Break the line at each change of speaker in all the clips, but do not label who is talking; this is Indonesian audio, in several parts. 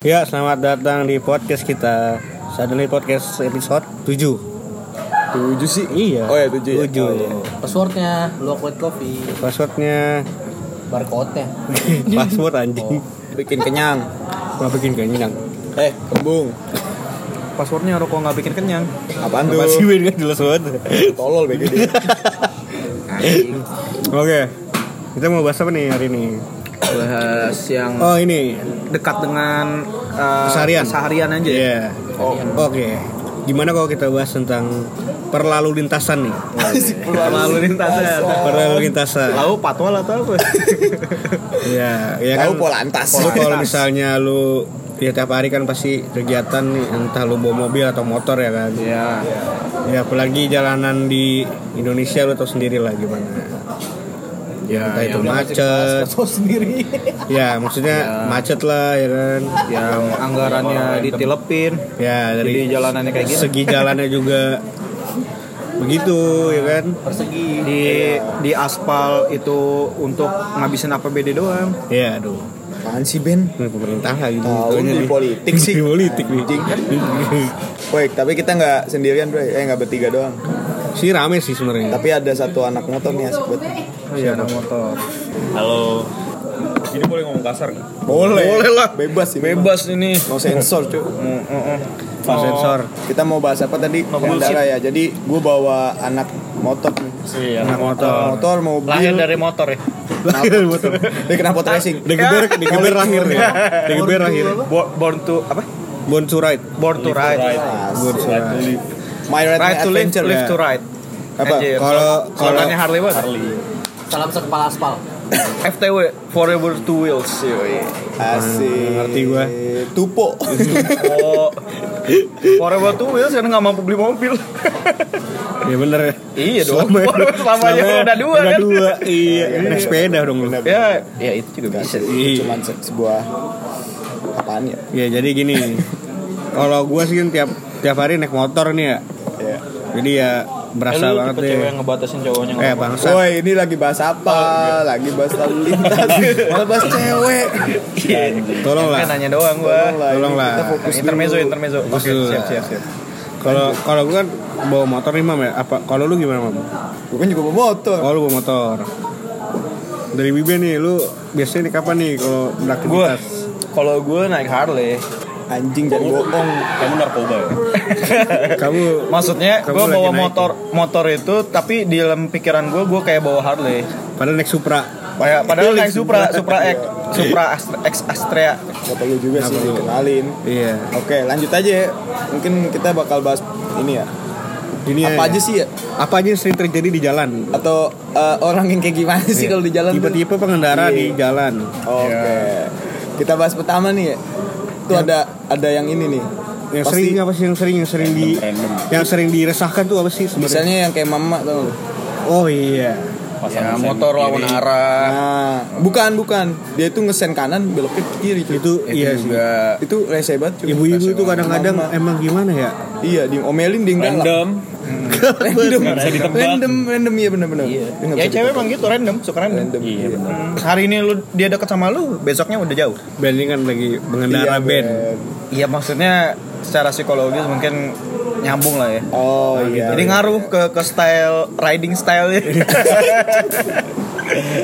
Ya, selamat datang di podcast kita. Suddenly podcast episode 7.
Tujuh sih.
Iya.
Oh ya tujuh. ya?
7.
Oh, iya.
Passwordnya lu kuat kopi,
Passwordnya
barcode-nya.
password anjing.
Bikin kenyang.
Nggak bikin kenyang.
Eh kembung.
Passwordnya rokok nggak bikin kenyang.
Apaan tuh?
Apa sih Win kan jelas banget.
Tolol bego dia.
Oke. Kita mau bahas apa nih hari ini?
Bahas
Hmm.
yang
Oh, ini.
dekat dengan eh,
Keseharian.
keseharian aja. ya.
Iya.
Oh.
Oke. Gimana kalau kita bahas tentang perlalu lintasan nih?
Lalu lintas ya.
Perlalu lintasan.
Lalu patwal atau apa?
Iya, ya kan.
Tahu pola antas.
Lu kalau misalnya lu ya tiap hari kan pasti kegiatan nih entah lu bawa mobil atau motor ya kan.
Iya.
Ya apalagi jalanan di Indonesia lu tau sendiri lah gimana. Ya, entah itu macet.
Tahu sendiri.
Ya, maksudnya macet lah ya kan.
Yang anggarannya ditilepin.
Ya dari
Jadi jalanannya kayak gini.
segi jalannya juga begitu ya kan.
Persegi.
Di di aspal itu untuk ngabisin APBD doang.
Ya aduh,
Apaan sih Ben?
ini pemerintah lagi
Tahu
gitunya
di
nih.
politik sih.
Di politik nih.
Woi, tapi kita nggak sendirian, bro. Eh, nggak bertiga doang.
si rame sih sebenarnya.
Tapi ada satu anak motor nih asik banget.
Iya, ada motor.
Halo. Ini boleh ngomong kasar nggak?
Boleh. Boleh lah. Bebas sih.
Bebas ini.
No sensor, cuy.
Oh.
Pak sensor.
Kita mau bahas apa tadi? Kendara ya. Jadi gue bawa anak motor nih.
Iya.
Anak motor.
Anak motor, mobil,
Lahir
Iya.
dari motor ya.
Lahir motor.
dia kena pot racing.
Digeber, digeber lahir ya. Digeber lahir.
Iya. Bo- Born to apa?
Born to ride.
Born to ride.
Asik.
Born to ride.
My Red
Ride to live,
Adventure.
live
ya.
to ride.
Apa?
Anjir.
Kalau- kalau-
Slogannya Harley banget.
Salam sekepala aspal.
FTW Forever Two Wheels.
Asik.
Ah, Ngerti gua.
Tupo.
Oh, Forever Two Wheels kan nggak mampu beli mobil.
Ya bener ya.
Iya dong. Selamanya, udah dua
udah
kan.
dua. Iya, naik sepeda dong lu.
Ya, ya itu juga bisa.
Iya.
Cuman se- sebuah apaan ya?
Ya jadi gini. Kalau gua sih kan tiap tiap hari naik motor nih ya.
Iya.
Jadi ya berasa
Kan
Eh, lu
banget
tipe
deh.
cewek yang ngebatasin cowoknya
Eh
nggak?
bangsa.
Woi, ini lagi bahas apa? Lagi bahas lalu lintas. Malah bahas cewek. iya.
Ya, Tolonglah.
Kan nanya doang gua.
ini
Iya. Tolonglah.
Kita fokus
Intermezzo,
dulu.
intermezzo.
Fokus
Oke,
dulu.
siap, siap, siap.
Kalau kalau gua kan bawa motor nih mam ya. Apa kalau lu gimana mam?
Gua kan juga bawa motor.
Kalau lu bawa motor. Dari Bibe nih, lu biasanya nih kapan nih kalau
Gua
beraktivitas?
kalau gua naik Harley,
Anjing jangan bohong.
Kamu narkoba ya?
Kamu
maksudnya
Kamu
gua
lagi
bawa
naikin.
motor motor itu tapi di dalam pikiran gua gua kayak bawa Harley.
Padahal naik Supra.
Kayak Oh, ya, padahal
Iya,
naik Supra, Supra X, Supra Astra- X Astrea.
Kata lu juga sih dikenalin.
Iya.
Oke, lanjut aja ya. Mungkin kita bakal bahas ini ya.
Ini
Apa aja sih ya?
Apa aja yang sering terjadi di jalan?
Atau eh, orang yang kayak gimana sih
Iya.
kalau di jalan? tuh?
Tipe-tipe pengendara
Iya.
di jalan.
Oke. Kita bahas pertama nih ya. Itu ada ada yang ini nih.
Yang
Pasti-
sering apa sih yang sering yang sering di
Random.
yang sering diresahkan tuh apa sih sebenarnya?
Misalnya yang kayak mama tau lu.
Oh iya.
Ya,
Pasangan saya
motor
kiri.
lawan arah.
Nah, bukan bukan. Dia itu ngesen kanan belok ke kiri. cuy.
Itu, iya sih.
juga
itu rese banget cuy.
Ibu-ibu
Rese
itu
banget.
kadang-kadang
Mama.
emang gimana ya?
iya diomelin dia enggak
Random.
Ya,
Random.
Nggak bisa ditebak.
Random random iya benar-benar. Iya.
Ya cewek emang gitu random, suka random.
random.
Iya benar.
Hari ini lu dia deket sama lu, besoknya udah jauh.
Band ini kan lagi
Iya,
pengendara band.
Iya maksudnya secara psikologis mungkin nyambung lah ya.
Oh iya.
Jadi ngaruh ke ke style riding style ya.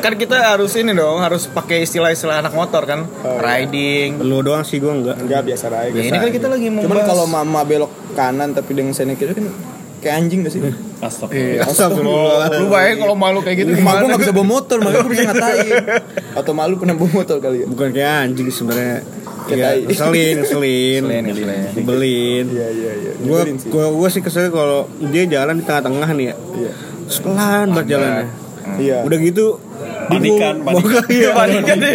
kan kita harus ini dong, harus pakai istilah-istilah anak motor kan.
Oh, iya.
riding.
Lu doang sih gua enggak.
enggak biasa aja.
Ya, ini kan kita lagi mau
Cuman
bahas-
kalau mama belok kanan tapi dengan seni kiri kan kayak anjing gak sih?
Astagfirullah.
Iya, Astagfirullah.
Lu bayangin kalau malu kayak gitu
Mak gue
gimana?
gak bisa bawa motor, makanya gue bisa ngatain Atau malu pernah bawa motor kali ya?
Bukan kayak anjing sebenarnya.
Kayak
Iya,
tai.
ngeselin, ngeselin.
Ngeselin, ya. ngeselin.
Belin.
Iya, iya, iya
gua
Nyebelin sih.
gua gua sih kesel kalau dia jalan di tengah-tengah nih ya
Iya.
Terus pelan banget jalannya
Iya
udah gitu
Panikan,
bingung, mau
panikan.
ke- iya.
Panikan deh.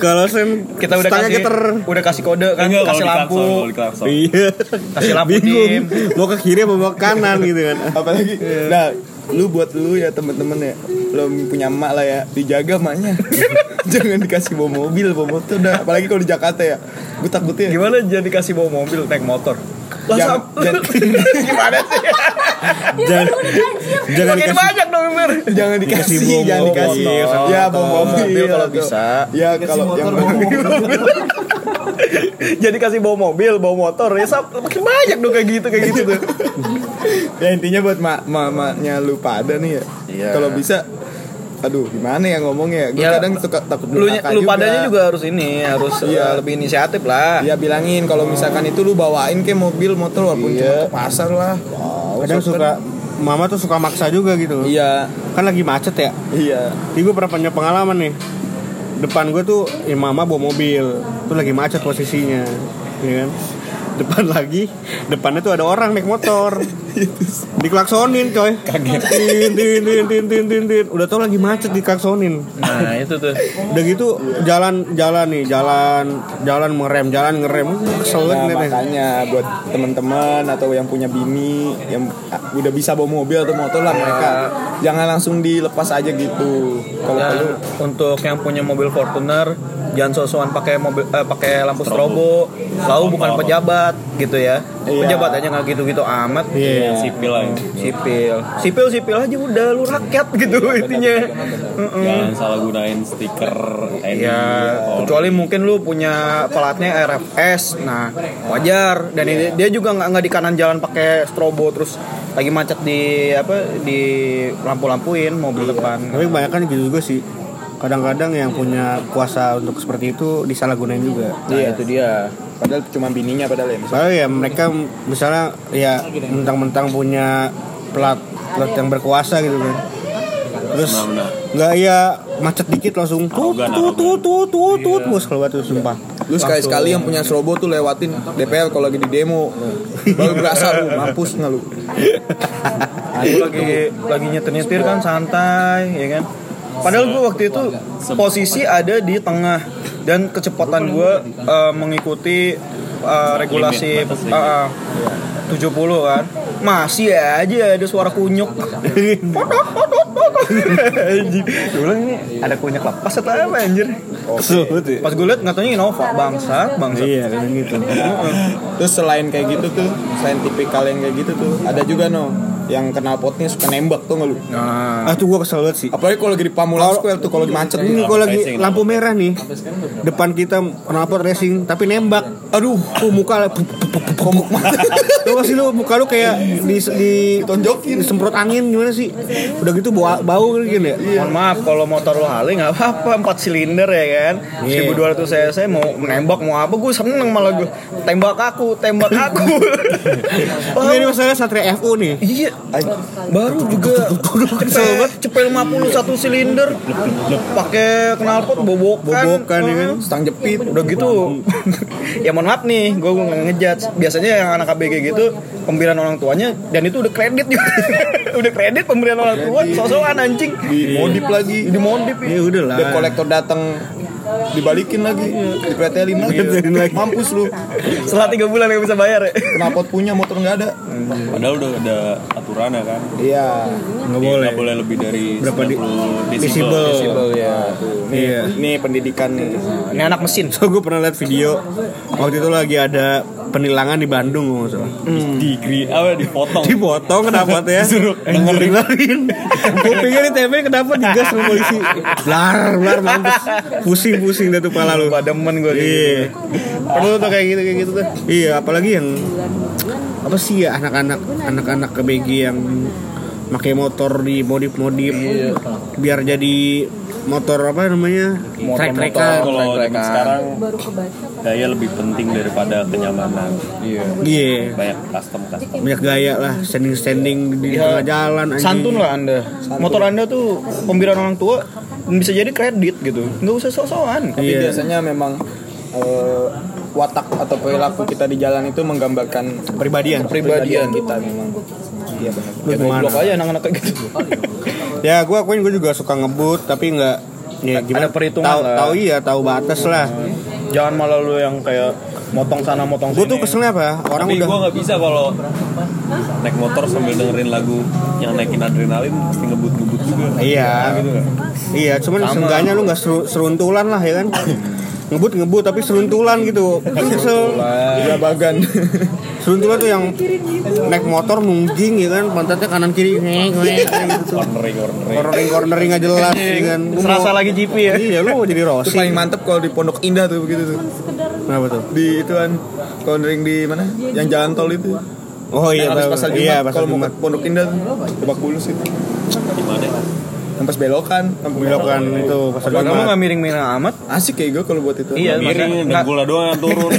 kalau sen
Kita udah
stangnya
kasih
geter
udah kasih kode kan,
Enggak, kalau
kasih
di
lampu.
klakson, kalau di klakson.
iya
Kasih lampu dim.
bingung mau ke kiri apa mau ke kanan gitu kan
Apalagi,
Iya.
nah lu buat lu ya temen-temen ya Lu punya emak lah ya, dijaga emaknya Jangan dikasih bawa mobil, bawa motor dah Apalagi kalau di Jakarta ya Gue takutnya
Gimana jadi kasih bawa mobil naik motor? Lah,
Jangan-
sam- gimana sih?
jangan jangan
Makin
dikasih
banyak dong Mir.
jangan dikasih,
Dikasih bawa
jangan
mobil,
dikasih.
sama
ya
motor.
bawa mobil,
Mobil kalau
atau-
bisa.
Ya kalau yang bawa mobil.
Jadi kasih bawa mobil, bawa motor, ya sab- makin banyak dong kayak gitu kayak gitu tuh.
ya intinya buat mak mamanya lu pada nih ya.
Iya.
Kalau bisa aduh gimana ya ngomongnya gue
Ya,
kadang suka takut
Lu,
durhaka
lu padanya juga harus ini, harus eh,
Iya.
lebih inisiatif lah.
ya bilangin kalau misalkan itu lu bawain ke mobil motor walaupun
Iya.
cuma ke pasar lah
kadang suka mama tuh suka maksa juga gitu
iya
kan lagi macet ya
iya
Ini gue pernah punya pengalaman nih Depan gue tuh ya mama bawa mobil Tuh lagi macet posisinya ya kan? Depan lagi Depannya tuh ada orang naik motor Diklaksonin coy Kaget tin, tin, tin, tin, tin, tin, tin. Udah tau lagi macet diklaksonin
Nah, itu tuh.
Udah gitu jalan jalan nih Jalan jalan ngerem jalan ngerem Kesel
Nah,
banget nih
makanya buat teman-teman atau yang punya bini yang ah, udah bisa bawa mobil atau motor lah mereka jangan langsung dilepas aja gitu kalau
Dan
perlu
untuk yang punya mobil Fortuner jangan sosokan pakai mobil eh, pakai lampu strobo. Lau bukan pejabat gitu ya.
Iya.
Pejabat aja nggak gitu-gitu amat.
Iya
sipil aja
Sipil. Sipil sipil aja udah lu rakyat gitu
Iya,
intinya. Mm-mm.
jangan salah gunain stiker ID
Iya.
Ya, kecuali mungkin lu punya pelatnya RFS, nah wajar. Dan
Iya.
ini- dia juga nggak nggak di kanan jalan pakai strobo terus lagi macet di apa di lampu-lampuin mobil
Iya.
depan.
Tapi kebanyakan gitu juga sih Kadang-kadang yang punya kuasa untuk seperti itu disalahgunain juga gitu.
Nah, itu dia.
Iya. padahal cuma bininya padahal ya misalnya.
Soalnya ya mereka misalnya ya mentang-mentang punya plat plat yang berkuasa gitu kan. Terus
Benar-benar.
nggak ya macet dikit langsung tut
Arogan, Iya.
tut tut tut tut tut bos keluar tuh sumpah.
lu sekali sekali yang punya strobo tuh lewatin DPR kalau lagi di demo baru berasa lu mampus nggak lu
Aku Nah, lagi lagi nyetir nyetir kan santai ya kan padahal gue waktu itu posisi ada di tengah dan kecepatan gue mengikuti eh, regulasi
Limit, batas
eh, eh, 70 kan masih aja ada suara kunyuk anjir gue bilang ini ada kunyuk lepas atau apa anjir
Kesel banget ya.
pas gue liat ngatanya Innova bangsat bangsat
Iya kayak gitu.
Nah.
terus selain kayak gitu tuh selain tipikal yang kayak gitu tuh ada juga no yang kenal potnya suka nembak tuh nggak lu
nah
Ah tuh gua kesel banget sih.
apalagi kalau lagi di Pamulang Square tuh Iya. kalau lagi macet
Ini
nih
kalau lagi lampu merah nih depan kita knalpot racing tapi nembak. Aduh, tuh muka
komuk mata
Tuh masih lu muka lu kayak di, di
Ditonjokin.
disemprot angin gimana sih? Udah gitu bau bau gitu ya.
Mohon maaf kalau motor lo Harley nggak apa-apa empat silinder ya kan.
Iya.
1200 cc mau menembak mau apa gue seneng malah gue tembak aku tembak aku.
Enggak ini masalah Satria FU nih.
Iya, baru juga sobat cepel 50 satu silinder pakai knalpot bobokan.
Bobokan, ya kan?
stang jepit
Udah gitu Ya mohon maaf nih Gue nggak ngejudge Biasanya yang anak ABG gitu Pemberian orang tuanya Dan itu udah kredit juga Udah kredit pemberian orang tua Sosokan anjing
dimodif lagi Iya, dimodif
Ya udah lah.
debt collector datang dibalikin lagi dipretelin lagi Iya.
Dipretelin lagi.
mampus lu
Setelah 3 bulan nggak bisa bayar ya
kenapa punya motor nggak ada
padahal udah ada aturannya kan
iya
Nggak
Jadi
boleh.
nggak boleh lebih dari
Berapa di-
90
Disable.
desibel
ya
Iya.
ini pendidikan nih
Ini anak mesin.
So gue pernah lihat video waktu itu lagi ada penilangan di Bandung kalau nggak salah.
di gri apa dipotong
Oh. Dipotong kenapa ya? Dengerin. Gue pikir di TP kenapa digas sama polisi. Blar blar mampus. Pusing-pusing dah tuh pala lu.
Pademen gue
Iya. Perlu tuh kayak gitu kayak gitu tuh. Iya, apalagi yang apa sih ya anak-anak anak-anak KBG yang pakai motor di modif-modif biar jadi motor apa namanya trek-trekan
kalau zaman
Mereka.
sekarang gaya lebih penting daripada kenyamanan
iya
banyak custom custom
banyak gaya lah standing standing di tengah jalan anjing.
Santun lah anda. Motor anda tuh pemberian orang tua bisa jadi kredit gitu. Nggak usah sosokan.
tapi
Iya.
biasanya memang eh, watak atau perilaku kita di jalan itu menggambarkan
Kepribadian.
kepribadian kita memang iya benar
Lu gimana?
Blok aja anak-anak kayak gitu.
ya gue akuin gue juga suka ngebut tapi nggak ya gimana
Ada perhitungan
tahu
lah.
tahu iya tahu batas lah
Jangan malah lu yang kayak motong sana motong sini.
gue tuh keselnya apa orang
tapi
udah
gue nggak bisa kalau naik motor sambil dengerin lagu yang naikin adrenalin pasti ngebut-ngebut juga
Iya.
gitu kan
Iya, cuman seenggaknya lu nggak seru- seruntulan lah ya kan. ngebut ngebut tapi seluntulan gitu Sel-
Bagan.
seluntulan tuh yang naik motor nungging ya kan pantatnya kanan kiri ngeng, ngeng, ngeng gitu tuh.
cornering cornering
cornering cornering nggak jelas ya kan Gua
Serasa
mau-
lagi GP ya.
iya lu mau jadi
Itu
Rossi
paling mantep kalau di Pondok Indah tuh begitu tuh.
kenapa tuh
Di ituan Kondering di mana? Yang jalan tol itu.
oh iya
Yang habis
tahu.
pasar Jumat.
iya pasar
kalau mau
Jumat
ke Pondok Indah tuh. Lebak Bulus itu.
gimana ya?
Yang pas belokan. kampung
belokan itu pasar
Kamu
Jumat
nggak miring-miring amat?
Asik ya gue kalau buat itu.
Iya.
miring
maksudnya-
dan gula doang yang turun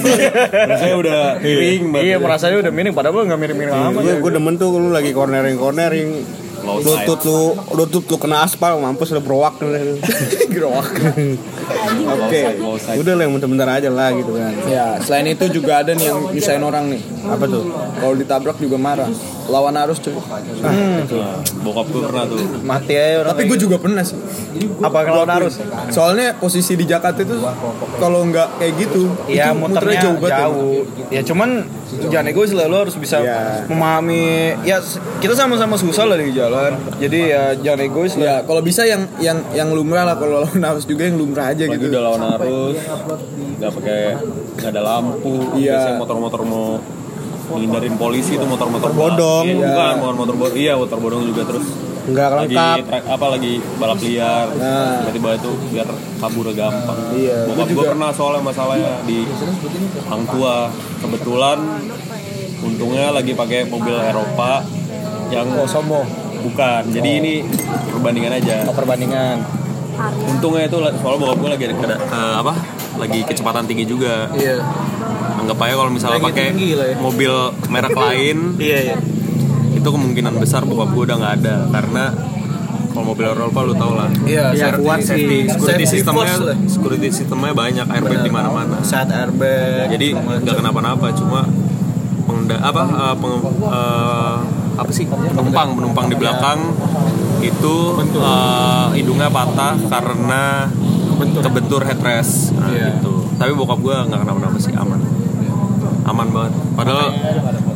saya udah miring banget
Iya, perasaannya udah miring. Padahal lu nggak miring-miring amat.
gue gue demen tuh lu lagi cornering cornering
ya. Low side.
lutut lu lutut lu kena aspal mampus lu berowak
Gerowak.
Low
Oke.
side, low side.
udah lah yang bentar-bentar aja lah gitu kan
Ya, selain itu juga ada nih yang nyusahin orang nih.
apa tuh
Kalau ditabrak juga marah. Lawan arus cuy.
Nah, bokap gue pernah tuh
Mati aja orang.
Tapi gue juga pernah sih.
apa ngelawan arus?
Iya,
Soalnya posisi di Jakarta itu kalau nggak kayak gitu,
Iya,
itu
muternya jauh. Ya
ya.
cuman jangan egois lah, lo harus bisa
Iya.
memahami. Ya s- kita sama-sama susah lah di jalan. Jadi ya jangan egois lah.
Ya, kalau bisa yang yang yang lumrah lah kalau lawan arus juga yang lumrah aja
lagi
gitu.
udah lawan arus nggak pakai nggak ada lampu
Iya.
biasanya motor-motor mau menghindarin polisi itu motor-motor balap.
bodong.
Iya,
Iya.
bukan bukan motor bodong iya motor bodong juga terus
nggak
lagi
lengkap
tra- apa lagi balap liar
Nah.
tiba-tiba itu biar kaburnya gampang
Iya,
bokap
gua
gue
juga.
pernah soalnya masalahnya di hang tua kebetulan untungnya lagi pakai mobil Eropa yang
Oh, Somo.
bukan jadi ini perbandingan aja
perbandingan.
untungnya itu la- soalnya bokap gue lagi ada keda- eh, apa lagi kecepatan tinggi juga
Iya.
anggap aja kalau misalnya
Lagi
pakai
tinggi lah ya.
mobil merek lain
Iya iya.
itu kemungkinan besar bokap gue udah nggak ada karena kalau mobil Eropa lu tau lah
Iya,
Iya,
safety-
kuat sih.
safety-
security
safety
sistemnya
force lah.
security sistemnya banyak airbag di mana-mana
Saat airbag.
Eh, jadi nggak kenapa-napa cuma pengenda apa eh, penge- eh, apa sih penumpang penumpang di belakang itu eh, hidungnya patah karena kebentur headrest nah,
Iya.
gitu tapi bokap gue nggak kenapa-napa sih aman aman banget padahal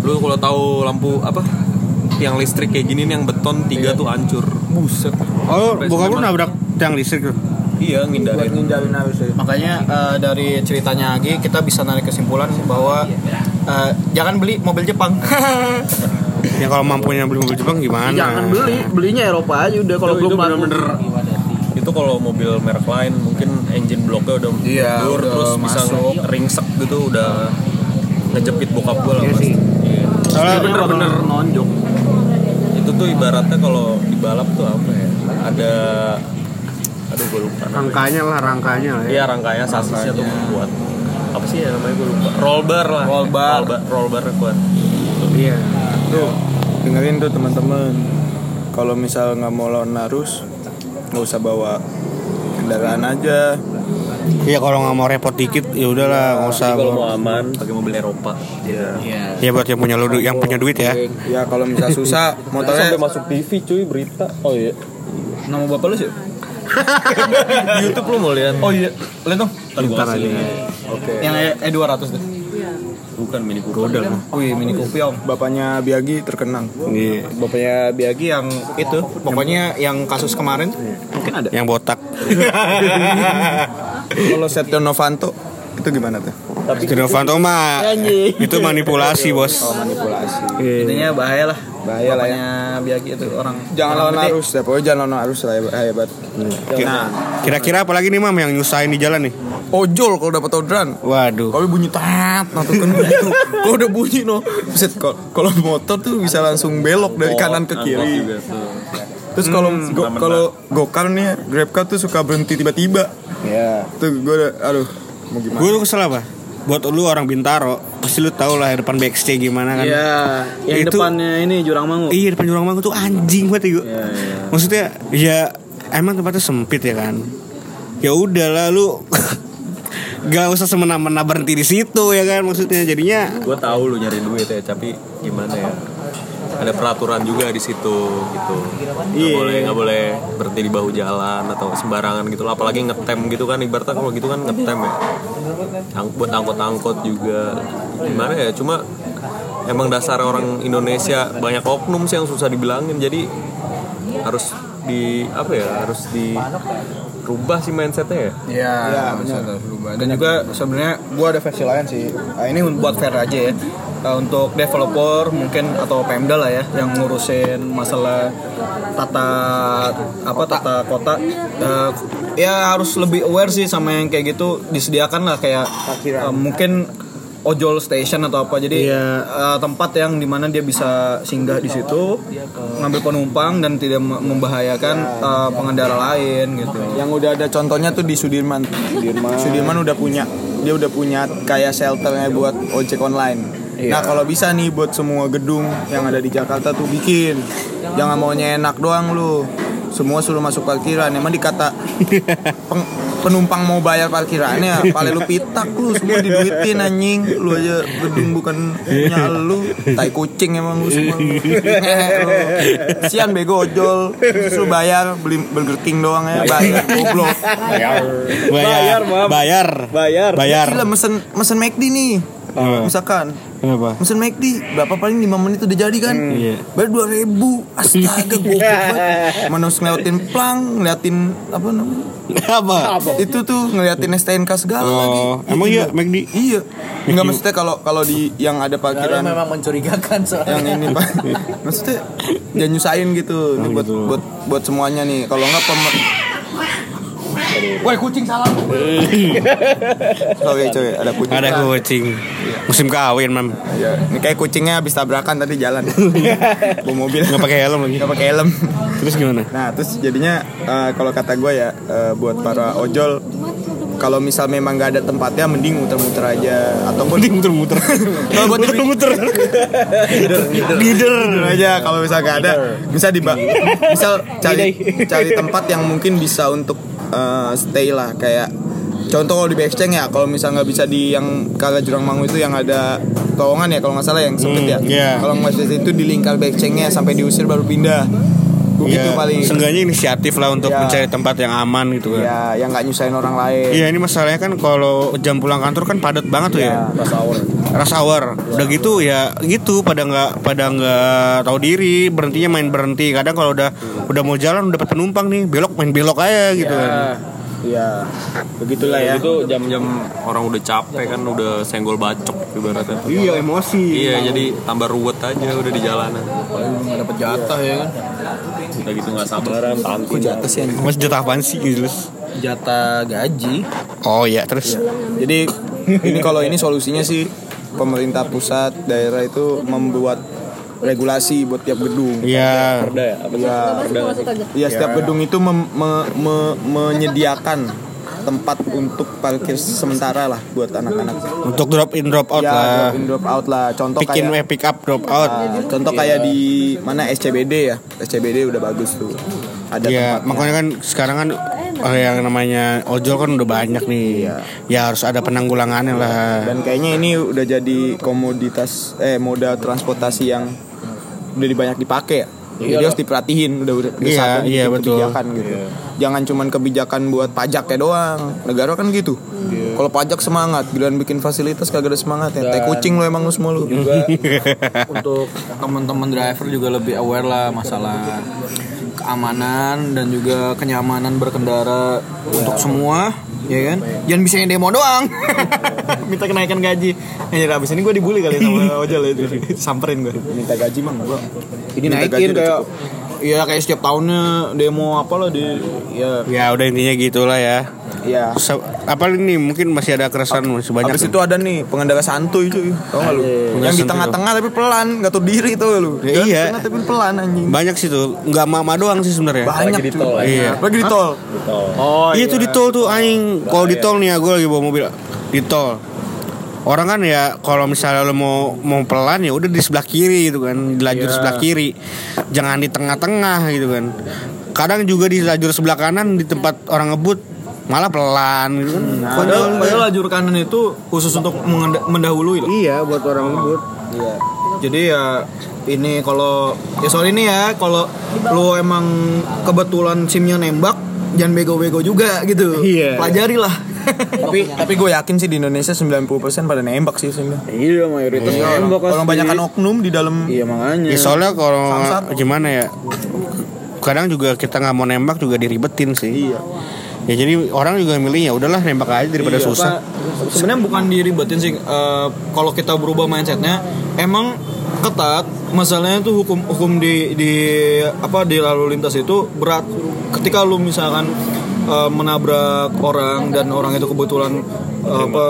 lu kalau tahu lampu apa yang listrik kayak gini nih yang beton tiga tuh hancur buset
oh bokap lu nabrak tiang listrik tuh
iya ngindarin
Makanya eh, dari ceritanya Agi kita bisa narik kesimpulan bahwa eh, jangan beli mobil Jepang.
ya kalau mampunya beli mobil Jepang gimana
belinya Eropa aja udah
itu, itu bener-bener itu kalau mobil merek lain mungkin engine blocknya udah
Iya,
mundur,
udah
terus
masuk.
bisa ringsek gitu udah ngejepit bokap gue lah
Iya
pasti
soalnya
Itu bener-bener nonjok itu tuh ibaratnya kalau di balap tuh apa ya ada aduh gue lupa namanya.
rangkanya lah rangkanya lah ya
Iya rangkanya sasisnya tuh kuat apa sih ya namanya gue lupa roll bar lah roll bar roll bar kuat
iya
Tuh, dengerin tuh teman-teman. Kalau misal nggak mau lawan arus, nggak usah bawa kendaraan aja.
iya kalau nggak mau repot dikit ya udahlah nggak usah
Jadi kalau mau aman pakai mobil Eropa iya
ya buat yang punya lu yang punya duit ya
Ya kalau misal susah, motornya
sampai masuk TV cuy berita oh iya
nama bapak lu sih.
di YouTube lu mau lihat oh iya lihat dong
Bentar aja.
Yang E 200 tuh.
bukan Mini Cooper
Wih, Mini Kupiong.
Bapaknya Biagi terkenang.
Iya.
Bapaknya Eh, Biagi yang itu, pokoknya yang kasus kemarin mungkin ada.
yang botak
Kalau Setio Novanto itu gimana tuh?
Setia Novanto mah itu manipulasi bos
Oh, Manipulasi.
Intinya bahaya lah.
Bahaya lah ya.
Bapaknya Biagi itu orang
Jangan
orang
lawan
gede.
arus ya, pokoknya jangan lawan arus lah ya, hebat. Nah,
kira-kira apalagi nih mam yang nyusahin di jalan nih
ojol kalau dapat orderan.
waduh
Kalau bunyi tat, nah tuh kan begitu. Kalau udah bunyi no, buset kok. Kalau motor tuh bisa langsung belok dari kanan ke kiri.
juga tuh
Terus kalau go- kalau gokar nih, grab car tuh suka berhenti tiba-tiba. Iya. Tuh gue udah, aduh, mau gimana?
gue tuh kesel apa buat lu orang Bintaro pasti lu tau lah depan backstage gimana kan
Iya,
yang Itu- depannya
ini Jurang Mangu.
Iya depan jurang bangku tuh anjing banget ya gue. Maksudnya ya emang tempatnya sempit ya kan. Ya udah lah lu gak usah semena-mena berhenti di situ ya kan maksudnya jadinya
gue tahu lu nyari duit ya tapi gimana ya ada peraturan juga di situ gitu nggak boleh nggak boleh berhenti di bahu jalan atau sembarangan gitu lah apalagi ngetem gitu kan ibaratnya kalau gitu kan ngetem ya Ang- buat angkot-angkot juga gimana ya cuma emang dasar orang Indonesia banyak oknum sih yang susah dibilangin jadi harus di apa ya harus di rubah sih mindsetnya ya
Iya,
Iya,
bisa terus berubah. Dan juga sebenarnya gua ada versi lain sih. Nah, ini buat fair aja ya. Eh, untuk developer mungkin atau Pemda lah ya yang ngurusin masalah tata apa tata kota Eh, ya harus lebih aware sih sama yang kayak gitu disediakan lah kayak eh, mungkin ojol station atau apa jadi
Iya.
eh, tempat yang dimana dia bisa singgah di situ ngambil penumpang dan tidak me- membahayakan eh, pengendara lain gitu
yang udah ada contohnya tuh di Sudirman. Sudirman. udah punya dia udah punya kayak shelternya buat ojek online.
Iya.
Nah kalau bisa nih buat semua gedung yang ada di Jakarta tuh bikin. Jangan maunya enak doang lu. Semua suruh masuk parkiran. Emang dikata peng- penumpang mau bayar parkirannya, paling lu pitak lu semua diduitin anjing. Lu aja gedung bukan punya lu. Tai kucing emang lu semua. lu. Ngehe lu. Sian bego ojol. Suruh bayar beli Burger King doang ya. Bayar goblok.
bayar bayar bayar bayar Oh.
Gila mesen mesen McD nih.
Apa?
Misalkan
kenapa
mesen McD berapa paling 5 menit udah jadi kan?
iya.
Baru dua ribu, astaga goblok banget. Mana harus ngeliatin plang, ngeliatin apa namanya?
apa
Itu tuh ngeliatin STNK segala lagi.
oh emang iya McD
Iya, nggak maksudnya kalau kalau di yang
Karena
ada parkiran
memang mencurigakan soalnya.
yang ini pak maksudnya jangan nyusahin gitu ini
Oh,
buat
gitu.
buat buat semuanya nih kalau nggak pemer
Woi kucing salah.
sorry coy ada kucing
ada kucing musim kawin mam
Iya, ini kayak kucingnya habis tabrakan tadi jalan bawa mobil
nggak pakai helm lagi
nggak pakai helm
terus gimana
nah terus jadinya eh, kalau kata gue ya eh, buat para ojol kalau misal memang nggak ada tempatnya mending muter-muter aja ataupun
Mending muter-muter
Kalau gua tipi-
Muter-muter
Gider aja kalau misal gak ada bisa di misal cari cari tempat yang mungkin bisa untuk eh, stay lah kayak contoh kalau di Bexceng ya kalau misal nggak bisa di yang kagak jurang mangu itu yang ada terowongan ya kalau nggak salah yang sempit
Hmm,
ya
iya.
kalau nggak bisa itu di lingkar Bexcengnya sampai diusir baru pindah begitu
Iya,
gitu paling
Seenggaknya inisiatif lah untuk
Iya.
mencari tempat yang aman gitu kan
ya yang nggak nyusahin orang lain
Iya ini masalahnya kan kalau jam pulang kantor kan padat banget tuh ya
pas hour
rush
Iya.
hour udah gitu ya gitu pada nggak pada nggak tahu diri berhentinya main berhenti kadang kalau udah udah mau jalan udah dapet penumpang nih belok main belok aja gitu
Iya.
kan
ya begitulah ya
itu jam-jam orang udah capek kan udah senggol bacok ibaratnya
iya emosi
iya jadi tambah ruwet aja udah di jalanan
nggak dapat jatah ya kan
udah gitu nggak sabaran
Gua
tantin
jatuh sih anjing.
mas jatah apaan sih jelas
jatah gaji
oh iya terus
Jadi ini kalau ini solusinya sih pemerintah pusat daerah itu membuat regulasi buat tiap gedung.
iya
udah ya apa sih?
Ya setiap gedung itu mem- me- me- menyediakan tempat untuk parkir sementara lah buat anak-anak.
untuk drop in drop out
Ya
lah
drop in drop out lah. Contoh
pick in eh,
kayak
pick up drop out
Ah, contoh kayak di mana SCBD ya. SCBD udah bagus tuh. Ada
Iya,
tempatnya.
makanya kan sekarang kan eh, yang namanya ojol kan udah banyak nih. Ya harus ada penanggulangannya lah.
Dan kayaknya ini udah jadi komoditas eh moda transportasi yang udah banyak dipakai ya. Jadi harus diperhatiin udah udah udah
Iya,
saatnya
iya,
bikin
betul.
kebijakan gitu. Jangan cuman kebijakan buat pajaknya doang. Negara kan gitu. Kalau pajak semangat, giliran bikin fasilitas kagak ada semangat ya. Tai kucing lo emang lu semua lu.
untuk teman-teman driver juga lebih aware lah masalah keamanan dan juga kenyamanan berkendara untuk semua ya kan jangan bisa yang demo doang minta kenaikan gaji anjir abis ini gue dibully kali sama ojol ya, itu samperin gue
Minta gaji mah gua.
ini
Minta gaji
naikin
udah
kayak Iya kayak setiap tahunnya demo apalah di ya
Ya udah intinya gitulah ya.
Iya.
Se- apa ini mungkin masih ada keresahan masih banyak.
Habis itu ada nih pengendara santuy cuy. Tau gak lu?
Pengendara
Yang di
santuy.
tengah-tengah tapi pelan, gak tau diri tuh lu.
Ya,
Jalan
iya.
Tengah tapi pelan anjing.
banyak sih tuh, nggak mama doang sih sebenarnya.
Banyak di tol.
Iya.
Lagi di tol.
Oh, iya tuh di tol tuh
Oh,
aing. Kalau
iya.
di tol nih ya gue lagi bawa mobil di tol. Orang kan ya kalau misalnya lo mau mau pelan ya udah di sebelah kiri gitu kan, di lajur
Iya.
sebelah kiri. Jangan di tengah-tengah gitu kan. Kadang juga di lajur sebelah kanan di tempat orang ngebut malah pelan gitu kan. Konyol
Hmm, nah. padahal,
banget.
padahal lajur kanan itu khusus untuk mengenda- mendahului loh. Oh, iya.
Iya buat orang ngebut.
Jadi ya ini kalau ya soal ini ya kalau lu emang kebetulan simnya nembak jangan bego-bego juga gitu.
Iya.
Pelajari lah.
tapi tapi gue yakin sih di Indonesia 90% pada nembak sih sebenarnya.
Iya mayoritas nembak
Orang
pasti.
banyak kan oknum di dalam
Iya makanya.
Ya soalnya kalau
Samsat.
gimana ya Kadang juga kita nggak mau nembak juga diribetin sih
Iya.
ya jadi orang juga milih ya udahlah nembak aja daripada
Iya,
susah
Pak. Sebenarnya bukan diribetin sih. Eh, kalau kita berubah mindsetnya, emang ketat. Masalahnya tuh hukum hukum di di apa di lalu lintas itu berat. Ketika lu misalkan eh, menabrak orang dan orang itu kebetulan eh, apa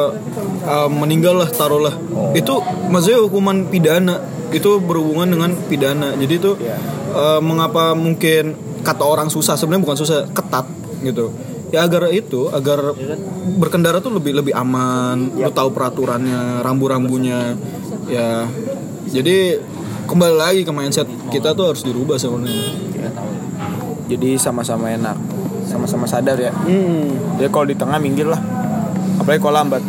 eh, meninggal lah taruhlah itu maksudnya hukuman pidana itu berhubungan dengan pidana. Jadi itu eh, mengapa mungkin kata orang susah sebenarnya bukan susah ketat gitu ya agar itu agar berkendara tuh lebih lebih aman lu tahu peraturannya rambu-rambunya ya jadi kembali lagi ke mindset kita tuh harus dirubah sebenarnya
jadi sama-sama enak sama-sama sadar ya
Hmm.
jadi kalau di tengah minggir lah apalagi kalau lambat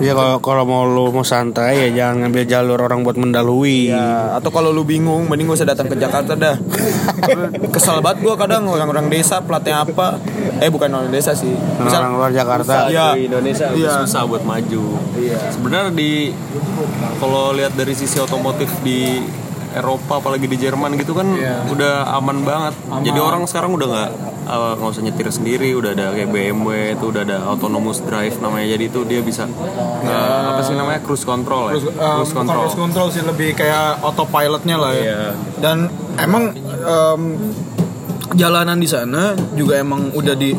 ya kalau kalau mau lu mau santai ya jangan ngambil jalur orang buat mendalui
ya atau kalau lu bingung mending gak usah datang ke Jakarta dah kesel banget gua kadang orang-orang desa platnya apa eh bukan orang desa sih
Dengan orang
misal
luar Jakarta
Iya.
Ah, Indonesia
Iya.
susah buat maju. Sebenarnya di kalau lihat dari sisi otomotif di Eropa apalagi di Jerman gitu kan
Iya.
udah aman banget. Jadi orang sekarang udah nggak eh, nggak usah nyetir sendiri, udah ada kayak BMW itu udah ada autonomous drive namanya. Jadi itu dia bisa eh,
Ya.
apa sih namanya cruise control ya.
terus eh, control. control sih lebih kayak autopilotnya lah ya
Iya.
dan emang em, jalanan di sana juga emang udah di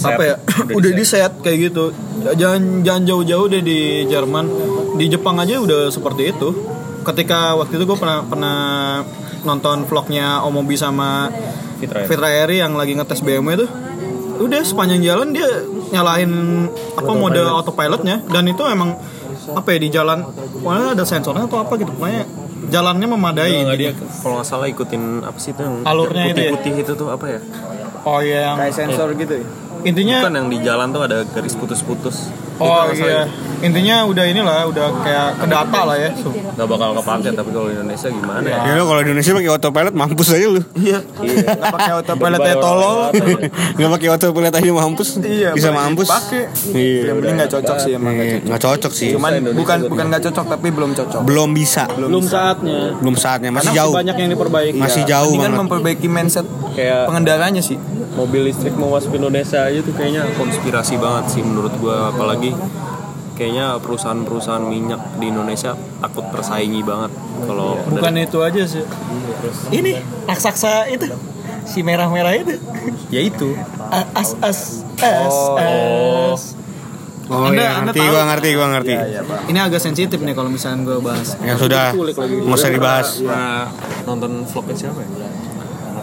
apa ya udah, di set kayak gitu jangan jangan jauh-jauh deh di Jerman di Jepang aja udah seperti itu ketika waktu itu gue pernah pernah nonton vlognya Omobi sama
Fitra Eri.
Fitra Eri yang lagi ngetes BMW tuh udah sepanjang jalan dia nyalain apa mode autopilotnya dan itu emang apa ya di jalan pokoknya ada sensornya atau apa gitu pokoknya jalannya memadai
Nah, dia kalau nggak salah ikutin apa sih itu yang
Alurnya itu ya?
putih-putih itu tuh apa ya?
oh iya yang
kayak sensor gitu ya
intinya
Bukan yang di jalan tuh ada garis putus-putus.
Oh iya, intinya udah inilah, udah kayak ke data lah ya. So,
Gak bakal kepake tapi kalau di Indonesia gimana ya?
ya lu kalau di Indonesia pakai autopilot mampus aja lu
nggak pakai autopilot
Berbahaya
ya tolol
orang Jakarta.
nggak pakai autopilot aja mampus bisa mampus
yang
iya
penting nggak cocok sih emang
Iya, nggak cocok sih
cuman bukan bukan nggak cocok tapi belum cocok
belum bisa
belum saatnya
belum saatnya masih
karena
jauh
masih banyak yang diperbaiki
masih jauh
Mendingan
banget
memperbaiki mindset
Kayak-
pengendaranya sih
mobil listrik mau masuk Indonesia aja tuh kayaknya konspirasi banget sih menurut gua apalagi kayaknya perusahaan-perusahaan minyak di Indonesia takut tersaingi banget kalau
bukan itu aja sih. Ini raksasa itu si merah-merah itu.
ya itu
As as as. as.
oh
Anda-
iya
Anda
ngerti
tahu.
gua ngerti gua ngerti
Ini agak sensitif nih kalau misalnya gue bahas.
yang sudah nggak usah dibahas
pernah Nah, nonton vlognya siapa ya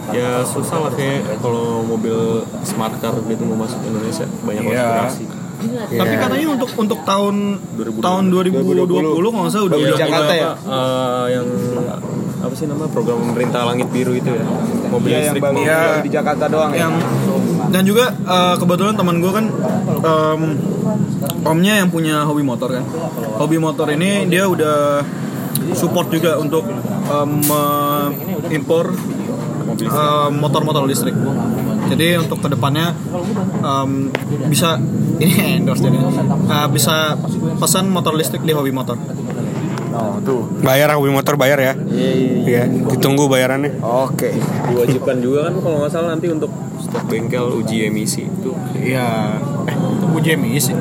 ya susah lah kayak kalau mobil smart car gitu mau masuk Indonesia banyak konspirasi
Tapi katanya untuk untuk tahun
2020.
tahun 2020, kalau nggak salah udah udah
Jakarta
mulai-
ya yang apa sih nama program pemerintah langit biru itu ya mobil
Iya,
listrik mau
di Jakarta doang
ya?
yang dan juga eh, kebetulan teman gue kan em, omnya yang punya hobi motor kan hobi motor ini dia udah support juga untuk em, mengimpor em, motor-motor listrik jadi untuk kedepannya em, bisa ini endorse jadi eh, bisa pesan motor listrik di hobi motor
bayar hobi motor bayar ya iya ditunggu bayarannya
oke
diwajibkan juga kan kalau nggak salah nanti untuk setiap bengkel uji emisi itu
iya eh uji emisi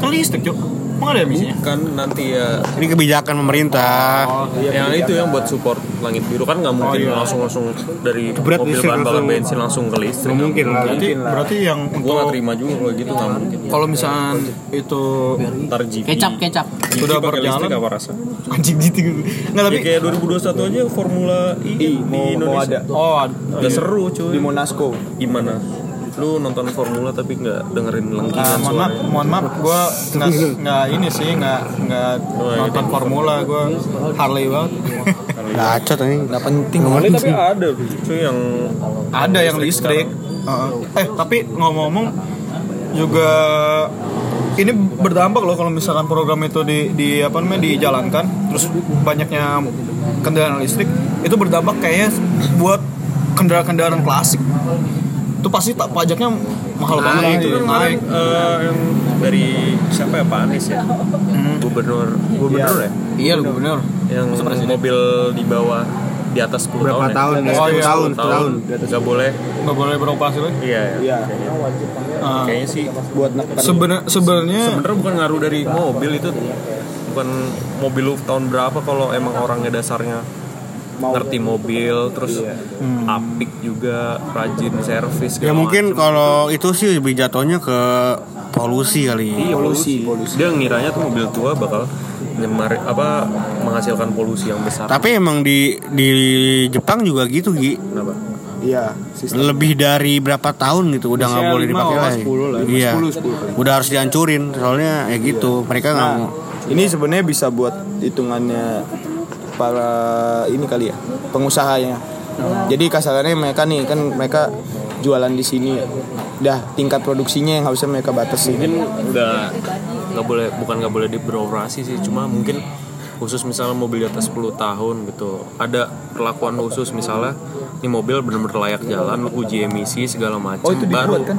kan listrik cok emang ada emisinya
kan nanti ya
ini kebijakan pemerintah
yang itu yang buat support langit biru kan nggak mungkin langsung langsung dari
Jebret
mobil
listrik
bahan bakar
langsung.
bensin langsung ke listrik
Nggak mungkin lah.
berarti berarti yang
gue
untuk
nggak terima juga kalau gitu nggak mungkin
kalau misalnya itu
ntar GP
Kecap, kecap.
sudah
Sudah
pakai
berjalan.
listrik apa rasa
anjing gitu nggak
tapi
tapi
kayak 2021 aja Formula I, di Indonesia
oh
nggak seru cuy
di Monasco
gimana lu nonton Formula tapi nggak dengerin
ah,
lengkingan
mohon maaf
suaranya
mohon maaf gue nggak nggak ini sih nggak nggak
Oh, iya,
nonton formula gue Harley banget
gacot ini
nggak penting
Ini tapi ada cuy yang
ada yang listrik Heeh. eh tapi ngomong-ngomong juga ini berdampak loh kalau misalkan program itu di di apa namanya dijalankan terus banyaknya kendaraan listrik itu berdampak kayaknya buat kendaraan-kendaraan klasik itu pasti tak pajaknya mahal banget
Nah,
gitu
itu kan kemarin eh, yang dari siapa ya Pak Anies ya gubernur gubernur ya
iya bener
yang mobil di bawah di atas 10
berapa tahun?
tahun, ya?
Ya? 10 tahun, 10 tahun.
tahun, nggak boleh
nggak boleh beroperasi lagi
iya iya kayaknya.
Ah.
kayaknya sih
buat nekan
Sebenar- sebenarnya
sebenarnya bukan ngaruh dari mobil itu bukan mobil lu tahun berapa kalau emang orangnya dasarnya ngerti mobil terus Hmm. apik juga rajin servis
Iya. Ya
segala
mungkin
macem.
kalau itu sih lebih jatuhnya ke polusi kali.
Iya, polusi. Dia ngiranya tuh mobil tua bakal nyemar apa menghasilkan polusi yang besar.
Tapi emang di di Jepang juga gitu Gi.
Kenapa?
iya sistem
Lebih dari berapa tahun gitu udah nggak
Biasanya
boleh
lima,
dipakai
oh,
lagi.
10 lah.
Iya.
10, 10.
Udah harus dihancurin soalnya ya gitu. Mereka nggak
Nah,
mau.
ini sebenarnya bisa buat hitungannya para ini kali ya, pengusahanya. Jadi kasarannya mereka nih kan mereka jualan di sini. Dah tingkat produksinya yang harusnya mereka batasi.
Mungkin udah nggak boleh bukan nggak boleh diberoperasi sih, cuma mungkin khusus misalnya mobil di atas 10 tahun gitu. Ada perlakuan khusus misalnya ini mobil benar-benar layak jalan, lu uji emisi segala macam.
Oh, itu dibuat kan?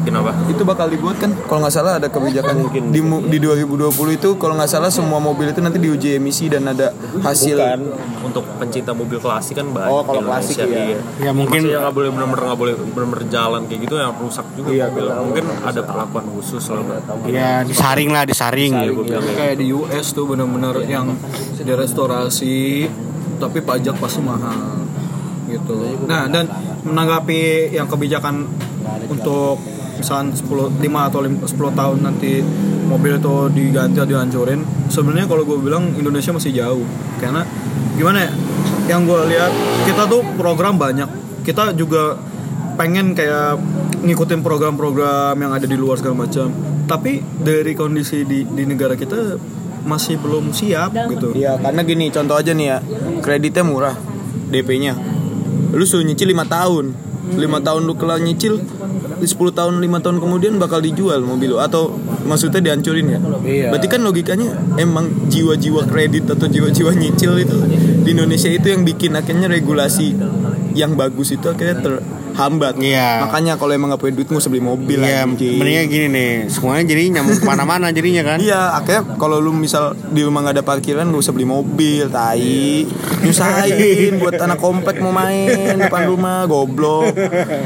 Kenapa?
itu bakal dibuat kan kalau nggak salah ada kebijakan mungkin di, mu- di 2020 itu kalau nggak salah semua mobil itu nanti diuji emisi dan ada hasil
Bukan.
Untuk pencinta mobil klasik kan banyak.
Oh, kalau
di Indonesia,
klasik ya.
iya.
Ya mungkin
Maksudnya nggak boleh benar-benar nggak boleh benar-benar jalan kayak gitu yang rusak juga
Iya,
mobil. Mungkin ada perlakuan khusus lah Mbak.
ya disaring lah, disaring.
Gue
Iya.
bilang kayak
kayak di US tuh bener-bener yang direstorasi tapi pajak pasti mahal gitu
Nah, dan menanggapi yang kebijakan untuk misalkan 10 5 atau lim- 10 tahun nanti mobil itu diganti atau dihancurin, sebenarnya kalau gue bilang Indonesia masih jauh. Karena gimana ya? Yang gue lihat kita tuh program banyak. Kita juga pengen kayak ngikutin program-program yang ada di luar segala macam. Tapi dari kondisi di di negara kita masih belum siap gitu.
Iya, karena gini contoh aja nih ya, kreditnya murah, DP-nya. Lu suruh nyicil 5 tahun. 5 tahun lu kelar nyicil, 10 tahun 5 tahun kemudian bakal dijual mobil lu atau maksudnya dihancurin ya.
Iya.
Berarti kan logikanya emang jiwa-jiwa kredit atau jiwa-jiwa nyicil itu di Indonesia itu yang bikin akhirnya regulasi yang bagus itu akhirnya terhambat.
Iya.
Makanya kalau emang gak punya duit mau beli mobil
Iya,
anjing.
mendingan gini nih, semuanya jadi nyambung kemana-mana jadinya kan.
Iya, akhirnya kalau lu misal di rumah nggak ada parkiran, lu usah beli mobil, tai. Nyusahin buat anak komplek mau main depan rumah, goblok.